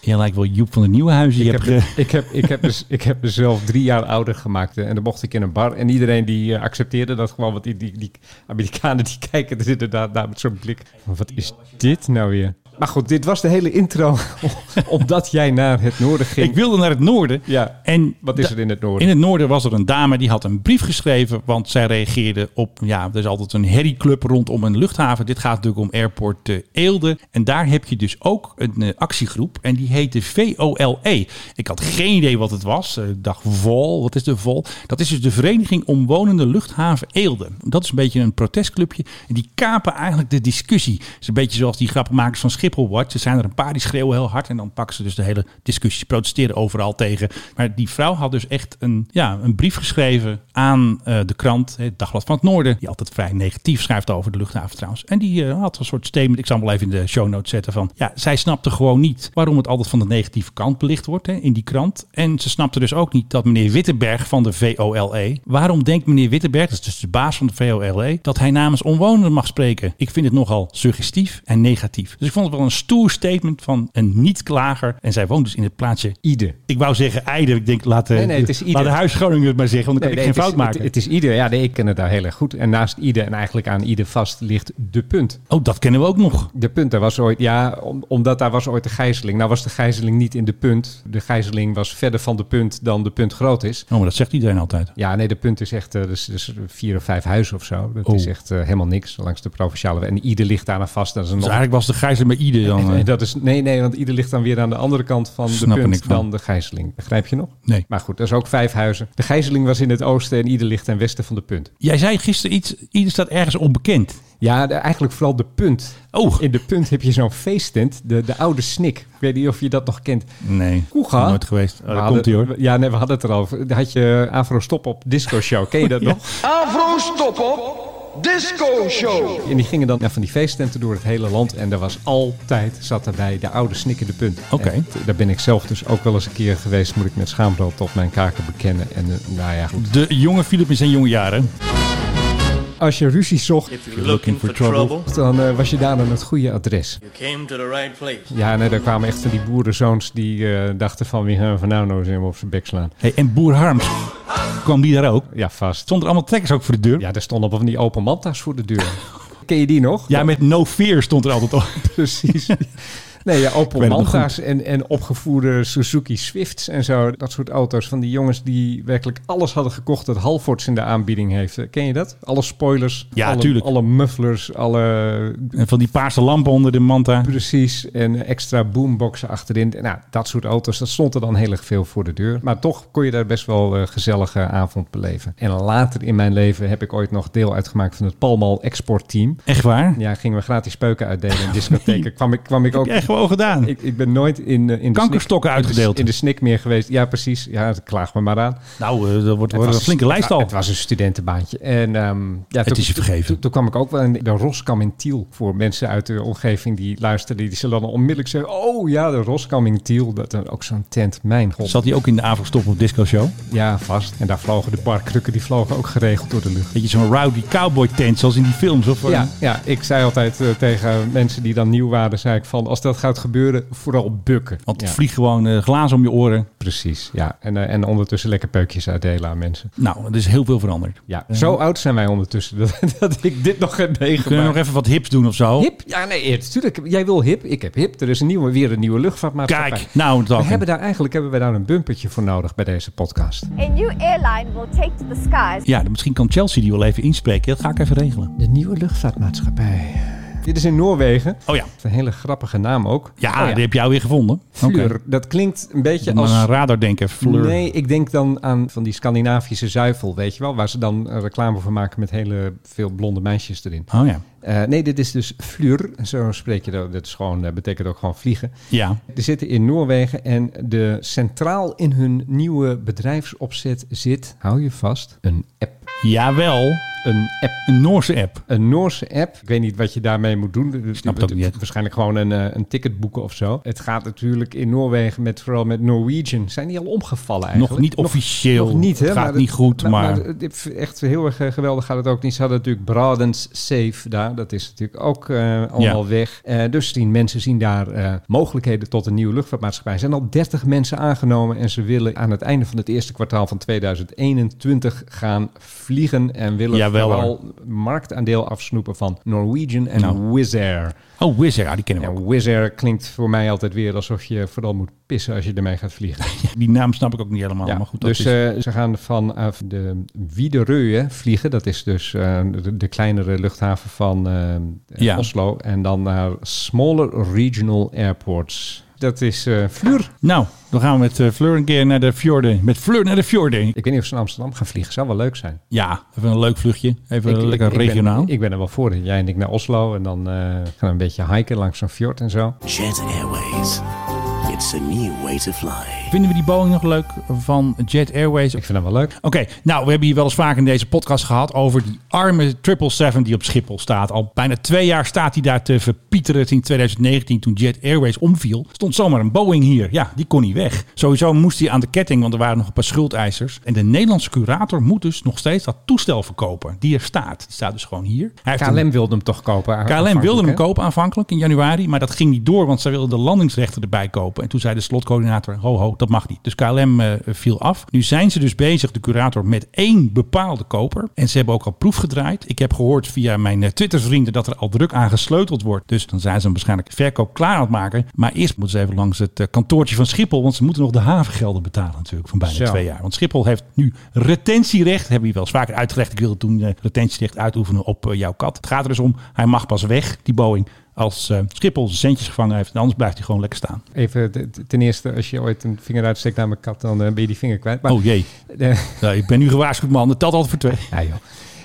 A: Je lijkt wel Joep van het Nieuwenhuizen. Je
B: Ik heb,
A: hebt, eh,
B: ik, heb, ik, heb dus, ik heb mezelf drie jaar ouder gemaakt. eh, En dan mocht ik in een bar. En iedereen die eh, accepteerde dat gewoon. Want die, die, die Amerikanen die kijken er inderdaad naar met zo'n blik. van, Wat is dit nou weer? Maar goed, dit was de hele intro. omdat jij naar het noorden ging.
A: ik wilde naar het noorden.
B: Ja,
A: En
B: wat is
A: da-
B: er in het noorden?
A: In het noorden was er een dame die had een brief geschreven, want zij reageerde op, ja, er is altijd een herrieclub rondom een luchthaven. Dit gaat natuurlijk om airport eh, Eelde. En daar heb je dus ook een eh, actiegroep en die heette VOLE. E. Ik had geen idee wat het was. Eh, Ik dacht VOL, wat is de VOL? Dat is dus de Vereniging Omwonende Luchthaven Eelde. Dat is een beetje een protestclubje en die kapen eigenlijk de discussie. Het is een beetje zoals die grappenmakers van Schiphol Watch. Er zijn er een paar die schreeuwen heel hard en dan pakken ze dus de hele discussie. Ze protesteren overal tegen. Maar die vrouw had dus echt een, ja, een brief geschreven aan eh, de krant, het Dagblad van het Noorden. Die altijd vrij negatief schrijft over de luchthaven trouwens. En die eh, had een soort statement, ik zal hem wel even in de show notes zetten van. Ja, zij snapte gewoon niet waarom het altijd van de negatieve kant belicht wordt hè, in die krant. En ze snapte dus ook niet dat meneer Wittenberg van de VOLE. E, Waarom denkt meneer Wittenberg, dat is dus de baas E, van de VOLE, dat hij namens omwonenden mag spreken? Ik vind het nogal suggestief en negatief. Dus ik vond het wel wel een stoer statement van een niet-klager. En zij woont dus in het plaatsje...
B: Ieder.
A: Ik wou zeggen Eide. Ik denk, laat, de-
B: Nee, nee, het is Iede.
A: laat de huisgroningen het maar zeggen. Want dan kan ik geen
B: het
A: fout
B: is,
A: maken.
B: Het, het is ieder. Ja, nee, ik ken het daar heel erg goed. En naast ieder en eigenlijk aan ieder vast ligt de punt.
A: oh, dat kennen we ook nog.
B: De punt, daar was ooit, ja, om- omdat daar was ooit de gijzeling. Nou was de gijzeling niet in de punt. De gijzeling was verder van de punt dan de punt groot is.
A: Oh, maar dat zegt iedereen altijd.
B: Ja, nee, de punt is echt, eh, dus, dus vier of vijf huizen of zo. Dat
A: Oh.
B: is echt eh, helemaal niks langs de provinciale. weg. En ieder ligt daar aan vast. Dat is een
A: Dus
B: nog-
A: eigenlijk was de gijzeling bij Iede dan... eh,
B: Nee, dat is, nee, nee, want ieder ligt dan weer aan de andere kant van
A: Snap er
B: de
A: niks
B: punt
A: van.
B: dan de gijzeling. Begrijp je nog?
A: Nee.
B: Maar goed, dat is ook vijf huizen. De gijzeling was in het oosten en ieder ligt ten westen van de punt.
A: Jij zei gisteren iets, ieder staat ergens onbekend.
B: Ja, de- eigenlijk vooral de punt.
A: Oh.
B: In de punt heb je zo'n feesttent, de, de oude snik. Ik weet niet of je dat nog kent.
A: Nee,
B: Koega.
A: nooit geweest. Oh,
B: We
A: daar
B: hadden-
A: komt hij hoor.
B: Ja, nee, we hadden het er al over. Daar had je Afro Stop op Disco Show. Ken je dat nog?
G: Avro Stop op Disco Show.
B: En die gingen dan naar van die feesttenten door het hele land. En er was altijd, zat daarbij de oude snikkende punt.
A: Oké.
B: En Daar ben ik zelf dus ook wel eens een keer geweest, moet ik met schaamrood op mijn kaken bekennen. En eh, nou ja, goed.
A: De jonge Philip in zijn jonge jaren.
B: Als je ruzie zocht,
H: If you're looking for trouble,
B: dan eh, was je daar aan het goede adres.
H: you came to the right place.
B: Ja, nee, daar kwamen echt van die boerenzoons die eh, dachten van, wie gaan we van nou nou eens helemaal op zijn bek slaan?
A: Hey, en Boer Harms, kwam die daar ook?
B: Ja, vast.
A: Stonden er allemaal trekkers ook voor de deur? Ja,
B: Ja, daar stonden van die open manta's voor de deur. Ken je die nog?
A: met No Fear stond er altijd op.
B: Precies. Nee, ja, Opel
A: weet het nog
B: Manta's en, en opgevoerde Suzuki Swifts en zo. Dat soort auto's van die jongens die werkelijk alles hadden gekocht dat Halfords in de aanbieding heeft. Eh, Ken je dat? Alle spoilers,
A: Ja,
B: alle,
A: tuurlijk.
B: alle mufflers, alle...
A: En van die paarse lampen onder de manta.
B: Precies, en extra boomboxen achterin. Nou, dat soort auto's, dat stond er dan heel erg veel voor de deur. Maar toch kon je daar best wel een gezellige avond beleven. En later in mijn leven heb ik ooit nog deel uitgemaakt van het Palmal exportteam.
A: Echt waar?
B: Ja, gingen we gratis peuken uitdelen in discotheken. Kwam, ik, kwam ik ook
A: Echt gewoon gedaan.
B: ik, ik ben nooit in, eh, in de
A: Kankerstokken
B: snik-
A: uitgedeeld.
B: In de, snik meer geweest. Ja, precies. Ja, klaag me maar aan.
A: nou, eh, dat wordt,
B: Het
A: wordt
B: was-
A: een flinke lijst al.
B: Het was een studentenbaantje. En, ehm, ja,
A: is je vergeven.
B: Toen, toen kwam ik ook wel in de Roskam in Tiel. Voor mensen uit de omgeving die luisterden. Die zullen dan onmiddellijk zeggen... Oh ja, de Roskam in Tiel. Dat dan ook zo'n tent. Mijn god.
A: Zat hij ook in de avondstop op disco show?
B: Ja, vast. En daar vlogen de barkrukken. Die vlogen ook geregeld door de lucht.
A: Weet je, zo'n rowdy cowboy tent zoals in die films. Of,
B: Ja, ja, ik zei altijd eh, tegen mensen die dan nieuw waren, zei ik van, als dat gaat gebeuren, vooral bukken.
A: Want
B: ja,
A: het vliegt gewoon eh, glazen om je oren.
B: precies. Ja, en, eh, en ondertussen lekker peukjes uitdelen aan mensen.
A: Nou, er is heel veel veranderd.
B: Ja, zo oud zijn wij ondertussen dat, dat ik dit nog heb
A: Kunnen
B: meegemaakt.
A: we nog even wat hips doen of zo?
B: Hip? Ja, nee, natuurlijk. Jij wil hip, ik heb hip. Er is een nieuwe, weer een nieuwe luchtvaartmaatschappij.
A: Kijk, nou,
B: We
A: dan.
B: hebben daar eigenlijk hebben we daar een bumpertje voor nodig bij deze podcast.
I: A new airline will take to the skies.
A: Ja, dan misschien kan Chelsea die wel even inspreken. Dat ga ik even regelen.
B: De nieuwe luchtvaartmaatschappij. Dit is in Noorwegen.
A: Oh ja.
B: Een hele grappige naam ook.
A: Ja,
B: Oh
A: die heb jij weer gevonden.
B: Fleur.
A: Oké.
B: Dat klinkt een beetje
A: Moet
B: als...
A: maar aan radar denken, Fleur.
B: Nee, ik denk dan aan van die Scandinavische zuivel, weet je wel. Waar ze dan eh, reclame voor maken met hele veel blonde meisjes erin.
A: Oh ja.
B: Eh, nee, dit is dus fleur. Zo spreek je dat. Dat is gewoon, eh, betekent ook gewoon vliegen.
A: Ja.
B: Die zitten in Noorwegen en de centraal in hun nieuwe bedrijfsopzet zit, hou je vast, een app.
A: Jawel. Eh,
B: Een app.
A: Een Noorse app.
B: Een Noorse app. Ik weet niet wat je daarmee moet doen.
A: snap het ook niet.
B: Waarschijnlijk gewoon een, eh, een ticket boeken of zo. Het gaat natuurlijk in Noorwegen met vooral met Norwegian. Zijn die al omgevallen eigenlijk?
A: Nog niet officieel.
B: Nog, niet, hè?
A: Het gaat
B: maar dat-
A: niet goed, maar-
B: het- echt heel erg eh, geweldig gaat het ook niet. Ze hadden natuurlijk Bradens Safe daar. Dat is natuurlijk ook eh, allemaal
A: Ja.
B: weg. Eh, dus die mensen zien daar eh, mogelijkheden tot een nieuwe luchtvaartmaatschappij. Er zijn al 30 mensen aangenomen en ze willen aan het einde van het eerste kwartaal van 2021 gaan vliegen en willen
A: Jawel,
B: vooral marktaandeel afsnoepen van Norwegian en
A: Nou.
B: Wizz Air.
A: Oh, Wizz Air. Ah, die kennen we ook.
B: En Wizz Air klinkt voor mij altijd weer alsof je vooral moet pissen als je ermee gaat vliegen.
A: Die naam snap ik ook niet helemaal.
B: Ja,
A: Maar goed, dat
B: dus
A: is...
B: eh, ze gaan vanaf de Widerøe vliegen. Dat is dus eh, de, de kleinere luchthaven van eh,
A: Ja.
B: Oslo. En dan naar Smaller Regional Airports. Dat is eh Fleur.
A: Nou, dan gaan we met eh, Fleur een keer naar de fjorden. Met Fleur naar de fjorden.
B: Ik weet niet of ze naar Amsterdam gaan vliegen. Zou wel leuk zijn.
A: Ja, even een leuk vluchtje. Even
B: ik,
A: lekker
B: ik- ik ben-
A: regionaal.
B: Ik ben, er wel voor. Jij en ik naar Oslo. En dan eh, gaan we een beetje hiken langs zo'n fjord en zo.
J: Jet Airways. Je It's a new way to fly.
A: Vinden we die Boeing nog leuk van Jet Airways?
B: Ik vind hem wel leuk.
A: Oké, nou, we hebben hier wel eens vaak in deze podcast gehad over die arme 777 die op Schiphol staat. Al bijna twee jaar staat hij daar te verpieteren. In 2019, toen Jet Airways omviel, stond zomaar een Boeing hier. Ja, die kon niet weg. Sowieso moest hij aan de ketting, want er waren nog een paar schuldeisers. En de Nederlandse curator moet dus nog steeds dat toestel verkopen. Die er staat. Die staat dus gewoon hier. Hij heeft een-
B: KLM wilde hem toch kopen?
A: KLM wilde hem
B: aanvankelijk, hè?
A: kopen aanvankelijk in januari, maar dat ging niet door, want zij wilden de landingsrechten erbij kopen. En toen zei de slotcoördinator, ho ho, dat mag niet. Dus KLM eh, viel af. Nu zijn ze dus bezig, de curator, met één bepaalde koper. En ze hebben ook al proef gedraaid. Ik heb gehoord via mijn eh, Twittervrienden dat er al druk aan gesleuteld wordt. Dus dan zijn ze hem waarschijnlijk verkoop klaar aan het maken. Maar eerst moeten ze even langs het eh, kantoortje van Schiphol, want ze moeten nog de havengelden betalen natuurlijk van bijna
B: Zo.
A: twee jaar. Want Schiphol heeft nu retentierecht, hebben we wel eens vaker uitgelegd. Ik wilde toen eh, retentierecht uitoefenen op eh, jouw kat. Het gaat er dus om, hij mag pas weg, die Boeing, als eh, Schiphol zijn centjes gevangen heeft. En anders blijft hij gewoon lekker staan.
B: Even de- de- ten eerste, als je ooit een vinger uitsteekt naar mijn kat, dan eh, ben je die vinger kwijt. Maar,
A: oh jee,
B: eh,
A: Nou, ik ben nu gewaarschuwd man, dat telt altijd voor twee.
B: ja, joh.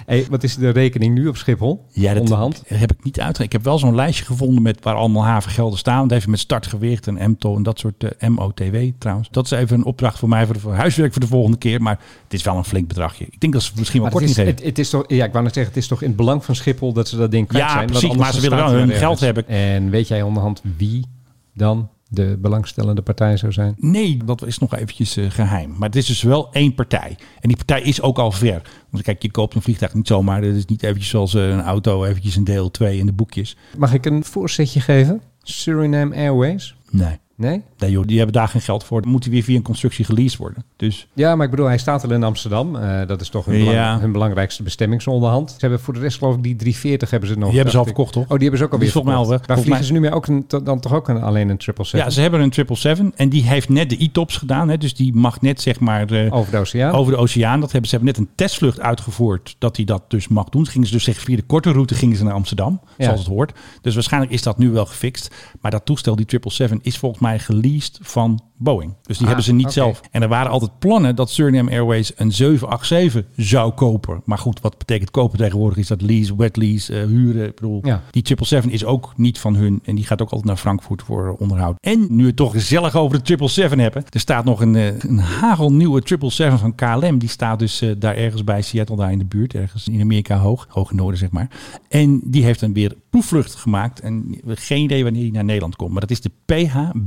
B: Hey, wat is de rekening nu op Schiphol? Onderhand?
A: heb ik niet uitgelegd. Ik heb wel zo'n lijstje gevonden met waar allemaal havengelden staan. Dat heeft met startgewicht en MTO en dat soort eh, MOTW trouwens. Dat is even een opdracht voor mij voor, de- voor huiswerk voor de volgende keer. Maar het is wel een flink bedragje. Ik denk dat ze het misschien wel
B: Maar het
A: kort
B: is,
A: niet
B: het, het is toch, ja, ik wou net zeggen, het is toch in het belang van Schiphol dat ze dat ding kwijt
A: Ja,
B: zijn. want
A: precies,
B: anders
A: maar ze willen
B: staat
A: wel
B: het
A: hun
B: ergens.
A: geld hebben.
B: En weet jij onderhand wie dan de belangstellende partij zou zijn?
A: Nee, dat is nog eventjes eh, geheim. Maar het is dus wel één partij. En die partij is ook al ver. Want kijk, je koopt een vliegtuig niet zomaar. Dat is niet eventjes zoals eh, een auto, eventjes een deel 2 in de boekjes.
B: Mag ik een voorzetje geven? Suriname Airways?
A: Nee.
B: Nee?
A: Nee joh, die hebben daar geen geld voor. Dan moet die weer via een constructie geleased worden. Dus
B: Ja, maar ik bedoel, hij staat al in Amsterdam. Eh, dat is toch hun, belang-
A: Ja.
B: hun belangrijkste bestemming zo onderhand. Ze hebben voor de rest geloof ik die 340 hebben ze nog.
A: Die hebben ze
B: dacht
A: al
B: ik.
A: verkocht, toch?
B: Oh, die hebben ze
A: Die
B: ook alweer
A: is volgens mij al
B: verkocht.
A: weg.
B: Maar vliegen
A: Volgens
B: ze nu meer ook een, to- dan toch ook een, alleen een 777
A: ja, ze hebben een 777 en die heeft net de e-tops gedaan. Hè, dus die mag net zeg maar... eh,
B: over de oceaan?
A: Over de oceaan. Dat hebben, ze hebben net een testvlucht uitgevoerd dat hij dat dus mag doen. Ze gingen ze dus zeg, via de korte route gingen ze naar Amsterdam,
B: Ja.
A: zoals het hoort. Dus waarschijnlijk is dat nu wel gefixt. Maar dat toestel, die 777, is volgens mij geleased van Boeing. Dus die
B: Ah,
A: hebben ze niet
B: oké.
A: zelf. En er waren altijd plannen dat Suriname Airways een 787 zou kopen. Maar goed, wat betekent kopen tegenwoordig? Is dat lease, wet lease, eh, huren? Ik bedoel,
B: Ja.
A: die 777 is ook niet van hun. En die gaat ook altijd naar Frankfurt voor eh, onderhoud. En nu we het toch gezellig over de 777 hebben. Er staat nog een, eh, een hagelnieuwe 777 van KLM. Die staat dus eh, daar ergens bij Seattle, daar in de buurt. Ergens in Amerika hoog. Hoog in noorden, zeg maar. En die heeft dan weer proefvlucht gemaakt. En geen idee wanneer die naar Nederland komt. Maar dat is de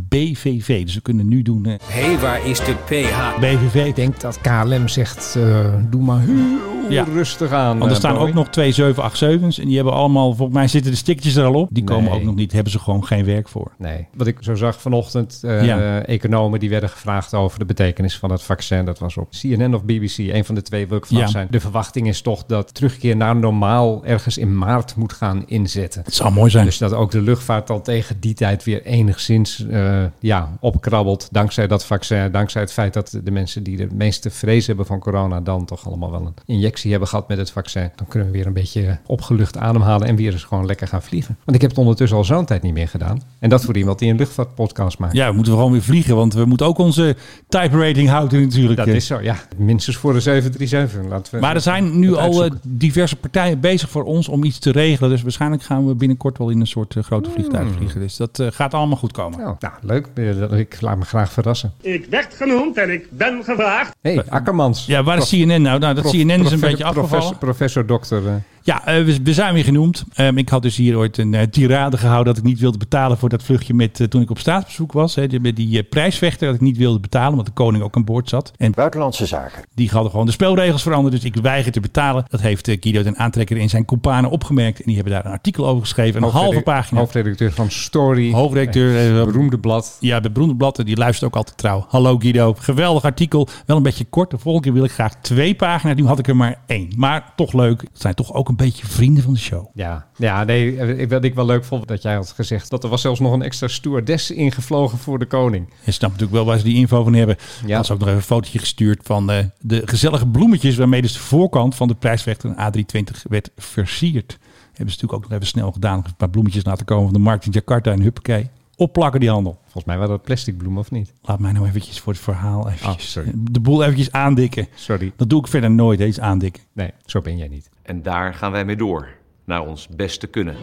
A: PHBVV. Dus we kunnen nu doen eh,
C: Hé, waar is de PH?
A: BVV.
B: Ik denk dat KLM zegt, eh, doe maar heel
A: Ja.
B: rustig aan.
A: Want er
B: eh,
A: staan
B: Boeing.
A: ook nog twee 787's. En die hebben allemaal, volgens mij zitten de stikjes er al op. Die komen
B: Nee.
A: ook nog niet. Hebben ze gewoon geen werk voor.
B: Nee. Wat ik zo zag vanochtend, eh,
A: Ja.
B: economen die werden gevraagd over de betekenis van het vaccin. Dat was op CNN of BBC, een van de twee wil ik vanaf
A: Ja.
B: zijn. De verwachting is toch dat terugkeer naar normaal ergens in maart moet gaan inzetten.
A: Het zou mooi zijn.
B: Dus dat ook de luchtvaart dan tegen die tijd weer enigszins eh, ja, opkrabbelt. Dankzij dat vaccin, dankzij het feit dat de mensen die de meeste vrees hebben van corona dan toch allemaal wel een injectie hebben gehad met het vaccin. Dan kunnen we weer een beetje opgelucht ademhalen en weer eens gewoon lekker gaan vliegen. Want ik heb het ondertussen al zo'n tijd niet meer gedaan. En dat voor iemand die een luchtvaartpodcast maakt.
A: Ja, we moeten gewoon weer vliegen, want we moeten ook onze type rating houden natuurlijk. eh.
B: Dat is zo, ja. Minstens voor de 737. Laten we
A: maar er zijn nu
B: dat
A: al eh,
B: uitzoeken.
A: diverse partijen bezig voor ons om iets te regelen. Dus waarschijnlijk gaan we binnenkort wel in een soort eh, grote
B: Hmm.
A: vliegtuig vliegen. Dus dat eh, gaat allemaal goed komen.
B: Nou, nou, leuk. Eh, Ik laat me graag verrassen.
J: Ik werd genoemd en ik ben gevraagd.
B: Hé, hey, Akkermans.
A: Ja, waar is
B: Prof-
A: CNN nou? Nou, dat
B: prof-
A: CNN is een
B: profe-
A: beetje afgevallen.
B: Professor, professor dokter. eh.
A: Ja, eh, we, we zijn weer genoemd. Ehm, ik had dus hier ooit een eh, tirade gehouden dat ik niet wilde betalen voor dat vluchtje met, eh, toen ik op staatsbezoek was. Hè, die- met die eh, prijsvechter dat ik niet wilde betalen, omdat de koning ook aan boord zat. En
G: Buitenlandse zaken.
A: Die hadden gewoon de spelregels veranderd. Dus ik weiger te betalen. Dat heeft eh, Guido ten aantrekker in zijn koepanen opgemerkt. En die hebben daar een artikel over geschreven. Een halve
B: Hoofdredac-
A: pagina.
B: Hoofdredacteur van Story.
A: Hoofdredacteur. eh,
B: beroemde blad.
A: ja, bij Broenderblatten, die luistert ook altijd trouw. Hallo Guido, geweldig artikel. Wel een beetje kort. De volgende keer wil ik graag twee pagina's. Nu had ik er maar één. Maar toch leuk. Het zijn toch ook een beetje vrienden van de show.
B: Ja, ja nee, eh, ik- wat ik wel leuk vond dat jij had gezegd dat er was zelfs nog een extra stewardess ingevlogen voor de koning.
A: Je snapt natuurlijk wel waar ze die info van hebben.
B: Ja.
A: Ja. ze ook nog even een fotootje gestuurd van eh, de gezellige bloemetjes... waarmee dus de voorkant van de prijsvechter A320 werd versierd. Hebben ze natuurlijk ook nog even snel gedaan. Nog Een paar bloemetjes laten komen van de markt in Jakarta en huppakee. Opplakken die handel.
B: Volgens mij waren dat plastic bloemen of niet?
A: Laat mij nou eventjes voor het verhaal eventjes,
B: Ah, sorry.
A: de boel eventjes aandikken.
B: Sorry.
A: Dat doe ik verder nooit, hè, iets aandikken.
B: Nee, zo ben jij niet.
J: En daar gaan wij mee door. Naar ons beste kunnen.
K: de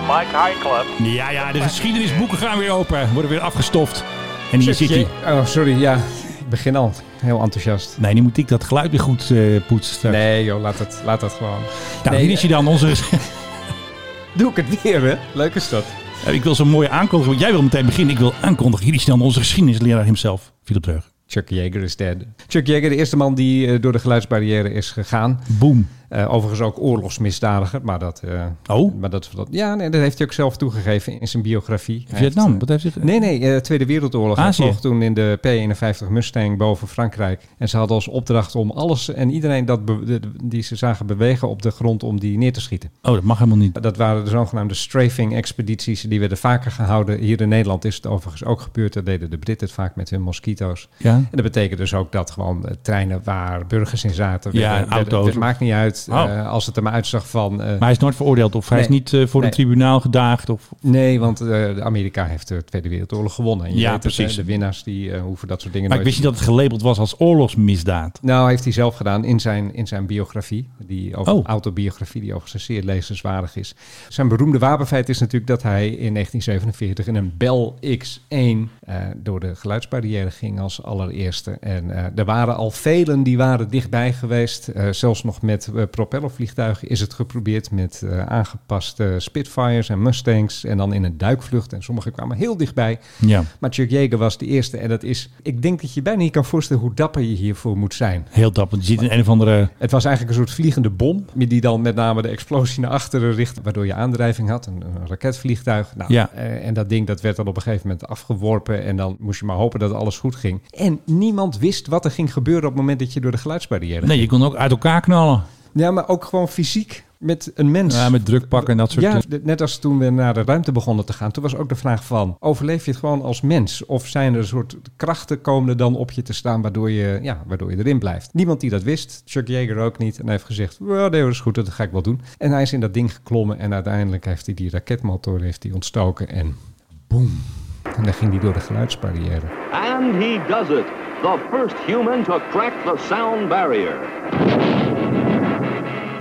K: Mike High Club.
A: Ja, ja, de geschiedenisboeken gaan weer open. Worden weer afgestoft. En hier zit hij.
B: Oh, sorry, ja. Ik begin al heel enthousiast.
A: Nee, nu moet ik dat geluid weer goed eh, poetsen straks.
B: Nee joh, laat dat, laat dat gewoon.
A: nou,
B: nee,
A: hier is hij dan, onze...
B: Doe ik het weer, hè? Leuk is dat.
A: Eh, ik wil zo'n mooie aankondiging, want jij wil meteen beginnen. Ik wil aankondigen. Hier is hij dan, onze geschiedenisleraar himself, Philip Dreug.
B: Chuck Yeager is dead. Chuck Yeager, de eerste man die eh, door de geluidsbarrière is gegaan.
A: Boom.
B: Eh, overigens ook oorlogsmisdadiger, maar dat... eh,
A: Oh?
B: Maar dat, dat, ja, nee, dat heeft hij ook zelf toegegeven in zijn biografie. Hij heeft,
A: Vietnam,
B: eh,
A: wat heeft hij...
B: Nee, nee, eh, Tweede Wereldoorlog.
A: Azië.
B: Hij vloog toen in de P-51 Mustang boven Frankrijk. En ze hadden als opdracht om alles en iedereen dat be- de- die ze zagen bewegen op de grond om die neer te schieten.
A: Oh, dat mag helemaal niet.
B: Dat waren de zogenaamde strafing-expedities. Die werden vaker gehouden. Hier in Nederland is het overigens ook gebeurd. Dat deden de Britten het vaak met hun mosquito's.
A: Ja?
B: En dat betekent dus ook dat gewoon eh, treinen waar burgers in zaten.
A: Ja, en auto's.
B: Het maakt niet uit
A: Oh.
B: eh, als het er maar uitzag van... eh,
A: Maar hij is nooit veroordeeld of hij is
B: Nee.
A: niet eh, voor
B: Nee.
A: een tribunaal gedaagd of...
B: Nee, want eh, Amerika heeft de Tweede Wereldoorlog gewonnen. En je
A: Ja,
B: weet het,
A: precies.
B: hè, de winnaars die eh, hoeven dat soort dingen
A: Maar ik
B: nooit
A: wist niet dat het gelabeld was als oorlogsmisdaad.
B: Nou, heeft hij zelf gedaan in zijn, in zijn biografie. Die over,
A: Oh.
B: autobiografie, die overigens zeer lezenswaardig is. Zijn beroemde wapenfeit is natuurlijk dat hij in 1947 in een Bell X1 eh, door de geluidsbarrière ging als allereerste. En eh, er waren al velen die waren dichtbij geweest. Eh, zelfs nog met eh, propellervliegtuigen is het geprobeerd met eh, aangepaste Spitfires en Mustangs. En dan in een duikvlucht. En sommigen kwamen heel dichtbij.
A: Ja,
B: Maar Chuck Yeager was de eerste. En dat is, ik denk dat je bijna niet kan voorstellen hoe dapper je hiervoor moet zijn.
A: heel dapper. Je ziet in een of andere...
B: Het was eigenlijk een soort vliegende bom, die dan met name de explosie naar achteren richtte, waardoor je aandrijving had, een, een raketvliegtuig. Nou,
A: Ja.
B: eh, en dat ding dat werd dan op een gegeven moment afgeworpen en dan moest je maar hopen dat alles goed ging. En niemand wist wat er ging gebeuren op het moment dat je door de geluidsbarrière ging.
A: Nee, je kon ook uit elkaar knallen.
B: Ja, maar ook gewoon fysiek met een mens.
A: Ja, met drukpakken en dat soort
B: Ja,
A: dingen.
B: d- net als toen we naar de ruimte begonnen te gaan, toen was ook de vraag van, overleef je het gewoon als mens? Of zijn er een soort krachten komen er dan op je te staan waardoor je, ja, waardoor je erin blijft? Niemand die dat wist, Chuck Yeager ook niet. En hij heeft gezegd, "Wel, nee, dat is goed, dat ga ik wel doen. En hij is in dat ding geklommen en uiteindelijk heeft hij die raketmotor heeft hij ontstoken en boem. En dan ging hij door de geluidsbarrière.
K: And he does it. The first human to crack the sound barrier.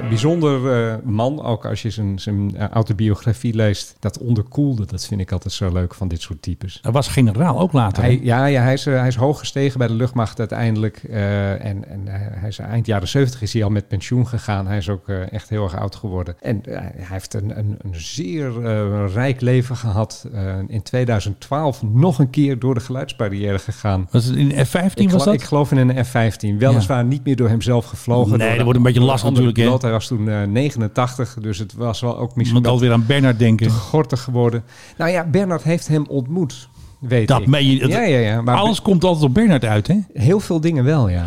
B: Een bijzonder eh, man, ook als je zijn, zijn eh, autobiografie leest. Dat onderkoelde, dat vind ik altijd zo leuk van dit soort types.
A: Hij was generaal ook later.
B: Hij, ja, ja hij, is, eh, hij is hoog gestegen bij de luchtmacht uiteindelijk. eh, en en eh, hij is eind jaren 70 is hij al met pensioen gegaan. Hij is ook eh, echt heel erg oud geworden. En eh, hij heeft een, een, een zeer eh, rijk leven gehad. Eh, in 2012 nog een keer door de geluidsbarrière gegaan.
A: Was het in F-15
B: Ik,
A: was
B: gelo-
A: dat?
B: ik geloof in een F-15. Weliswaar niet meer door hemzelf gevlogen.
A: Nee,
B: door
A: dat
B: de-
A: wordt een beetje
B: door
A: lastig
B: andere
A: natuurlijk, hè?
B: piloot. Hij was toen eh, 89, dus het was wel ook
A: Je
B: misschien
A: moet
B: wel
A: alweer aan Bernard denken.
B: te gortig geworden. Nou ja, Bernard heeft hem ontmoet, weet
A: Dat
B: ik.
A: meen je. dat-
B: Ja, ja, ja. Maar
A: Alles komt altijd op Bernard uit, hè?
B: Heel veel dingen wel, ja.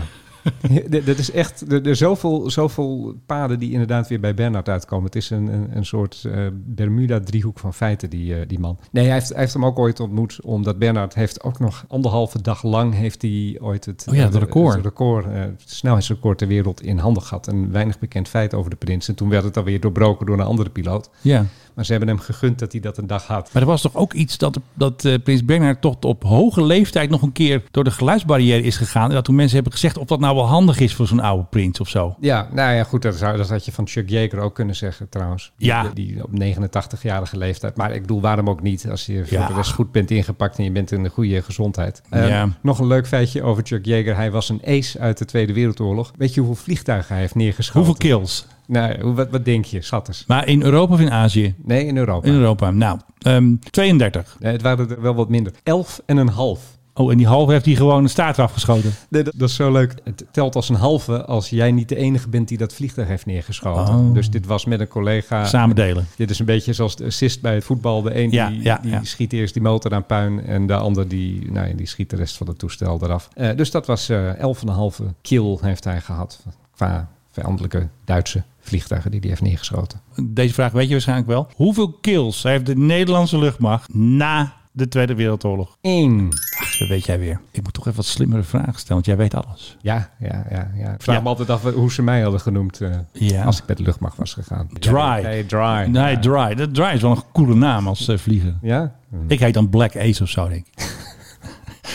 B: D- Dat is echt, er er zijn zoveel, zoveel paden die inderdaad weer bij Bernard uitkomen. Het is een, een, een soort eh, Bermuda-driehoek van feiten, die, eh, die man. Nee, hij heeft, hij heeft hem ook ooit ontmoet, omdat Bernard heeft ook nog anderhalve dag lang heeft hij ooit het,
A: Oh ja, het
B: eh,
A: record.
B: het, record, eh, het snelheidsrecord ter wereld in handen gehad. Een weinig bekend feit over de prins. En toen werd het alweer doorbroken door een andere piloot.
A: Ja.
B: Maar ze hebben hem gegund dat hij dat een dag had.
A: Maar er was toch ook iets dat, dat eh, prins Bernhard toch op hoge leeftijd nog een keer door de geluidsbarrière is gegaan. En dat toen mensen hebben gezegd of dat nou wel handig is voor zo'n oude prins of zo.
B: Ja, nou ja, goed, dat, zou, dat had je van Chuck Yeager ook kunnen zeggen trouwens.
A: Ja.
B: Die, die op 89-jarige leeftijd. Maar ik bedoel, waarom ook niet als je voor
A: Ja.
B: de rest goed bent ingepakt en je bent in de goede gezondheid. Eh,
A: Ja.
B: Nog een leuk feitje over Chuck Yeager. Hij was een ace uit de Tweede Wereldoorlog. Weet je hoeveel vliegtuigen hij heeft neergeschoten?
A: Hoeveel kills?
B: Nou, hoe- wat, wat denk je, schatters?
A: Maar in Europa of in Azië?
B: Nee, in Europa.
A: In Europa. Nou, ehm, 32.
B: Nee, het waren er wel wat minder. Elf en een half.
A: Oh, en die halve heeft hij gewoon een staart afgeschoten.
B: Nee, dat, dat is zo leuk. Het telt als een halve als jij niet de enige bent die dat vliegtuig heeft neergeschoten.
A: Oh.
B: Dus dit was met een collega.
A: Samen delen.
B: Dit is een beetje zoals de assist bij het voetbal. De een
A: Ja,
B: die,
A: ja,
B: die
A: ja.
B: schiet eerst die motor aan puin en de ander die, nou, ja, die schiet de rest van het toestel eraf. Eh, dus dat was eh 11,5 kill heeft hij gehad qua vijandelijke Duitse vliegtuigen die hij heeft neergeschoten.
A: Deze vraag weet je waarschijnlijk wel. Hoeveel kills heeft de Nederlandse luchtmacht na de Tweede Wereldoorlog?
B: Eén.
A: Dat weet jij weer. Ik moet toch even wat slimmere vragen stellen, want jij weet alles.
B: Ja, ja, ja. ja. Ik vraag
A: Ja.
B: me altijd af hoe ze mij hadden genoemd eh,
A: Ja.
B: als ik met de luchtmacht was gegaan.
A: Dry.
B: Nee, dry.
A: Nee, Dry. Dat Dry is wel een coole naam als eh, vlieger.
B: Ja?
A: Ik heet dan Black Ace of zo, denk ik.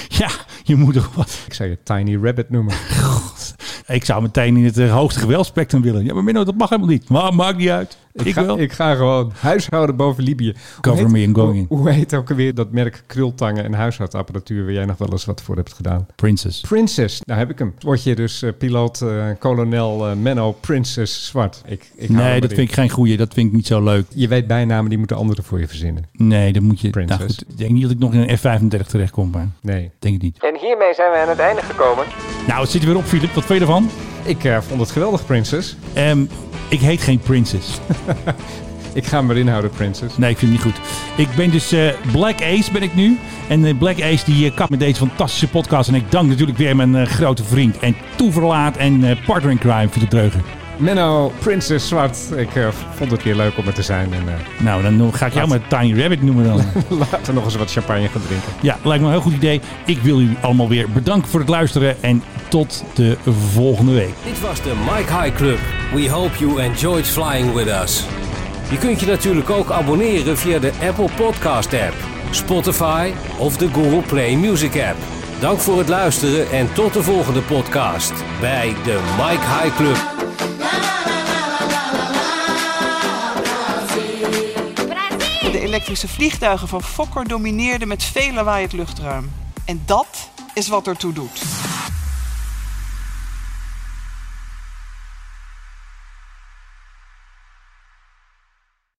A: ja, je moet toch wat.
B: Ik zou je Tiny Rabbit noemen.
A: Ik zou meteen in het eh, hoogste geweldspectrum willen. Ja, maar Menno, dat mag helemaal niet. Maar maakt niet uit. Ik
B: ga,
A: wel.
B: Ik ga gewoon huishouden boven Libië.
A: Cover
B: Hoe
A: me
B: heet-
A: and going in.
B: Hoe, hoe heet ook alweer dat merk krultangen en huishoudapparatuur... waar jij nog wel eens wat voor hebt gedaan?
A: Princess.
B: Princess, daar heb ik hem. Word je dus eh, piloot, eh, kolonel eh, Menno Princess Zwart. Ik, ik hou er
A: Nee,
B: maar
A: dat
B: in.
A: vind ik geen goeie. Dat vind ik niet zo leuk.
B: Je weet bijnamen, die moeten anderen voor je verzinnen.
A: Nee, dan moet je... Nou
B: Princess.
A: goed, ik denk niet dat ik nog in een F-35 terecht kom, maar
B: Nee.
A: denk ik niet.
B: En hiermee zijn we aan het einde gekomen.
A: Nou, het zit er weer op, Philip. Wat vind je ervan?
B: Ik eh, vond het geweldig, Princess.
A: Ehm, ik heet geen Princess.
B: Ik ga hem erin houden, Princess.
A: Nee, ik vind het niet goed. Ik ben dus eh, Black Ace ben ik nu. En eh, Black Ace die eh, kapt met deze fantastische podcast. En ik dank natuurlijk weer mijn eh, grote vriend en toeverlaat en eh partner in crime, Philip Dreugen.
B: Menno Princess Zwart. Ik eh, vond het weer leuk om er te zijn. En eh,
A: Nou, dan ga ik jou maar Tiny Rabbit noemen dan.
B: laten we nog eens wat champagne gaan drinken.
A: ja, lijkt me een heel goed idee. Ik wil u allemaal weer bedanken voor het luisteren. En tot de volgende week.
C: Dit was de Mike High Club. We hope you enjoyed flying with us. Je kunt je natuurlijk ook abonneren via de Apple Podcast app, Spotify of de Google Play Music app. Dank voor het luisteren en tot de volgende podcast bij de Mike High Club.
F: De elektrische vliegtuigen van Fokker domineerden met veel lawaai het luchtruim. En dat is wat ertoe doet.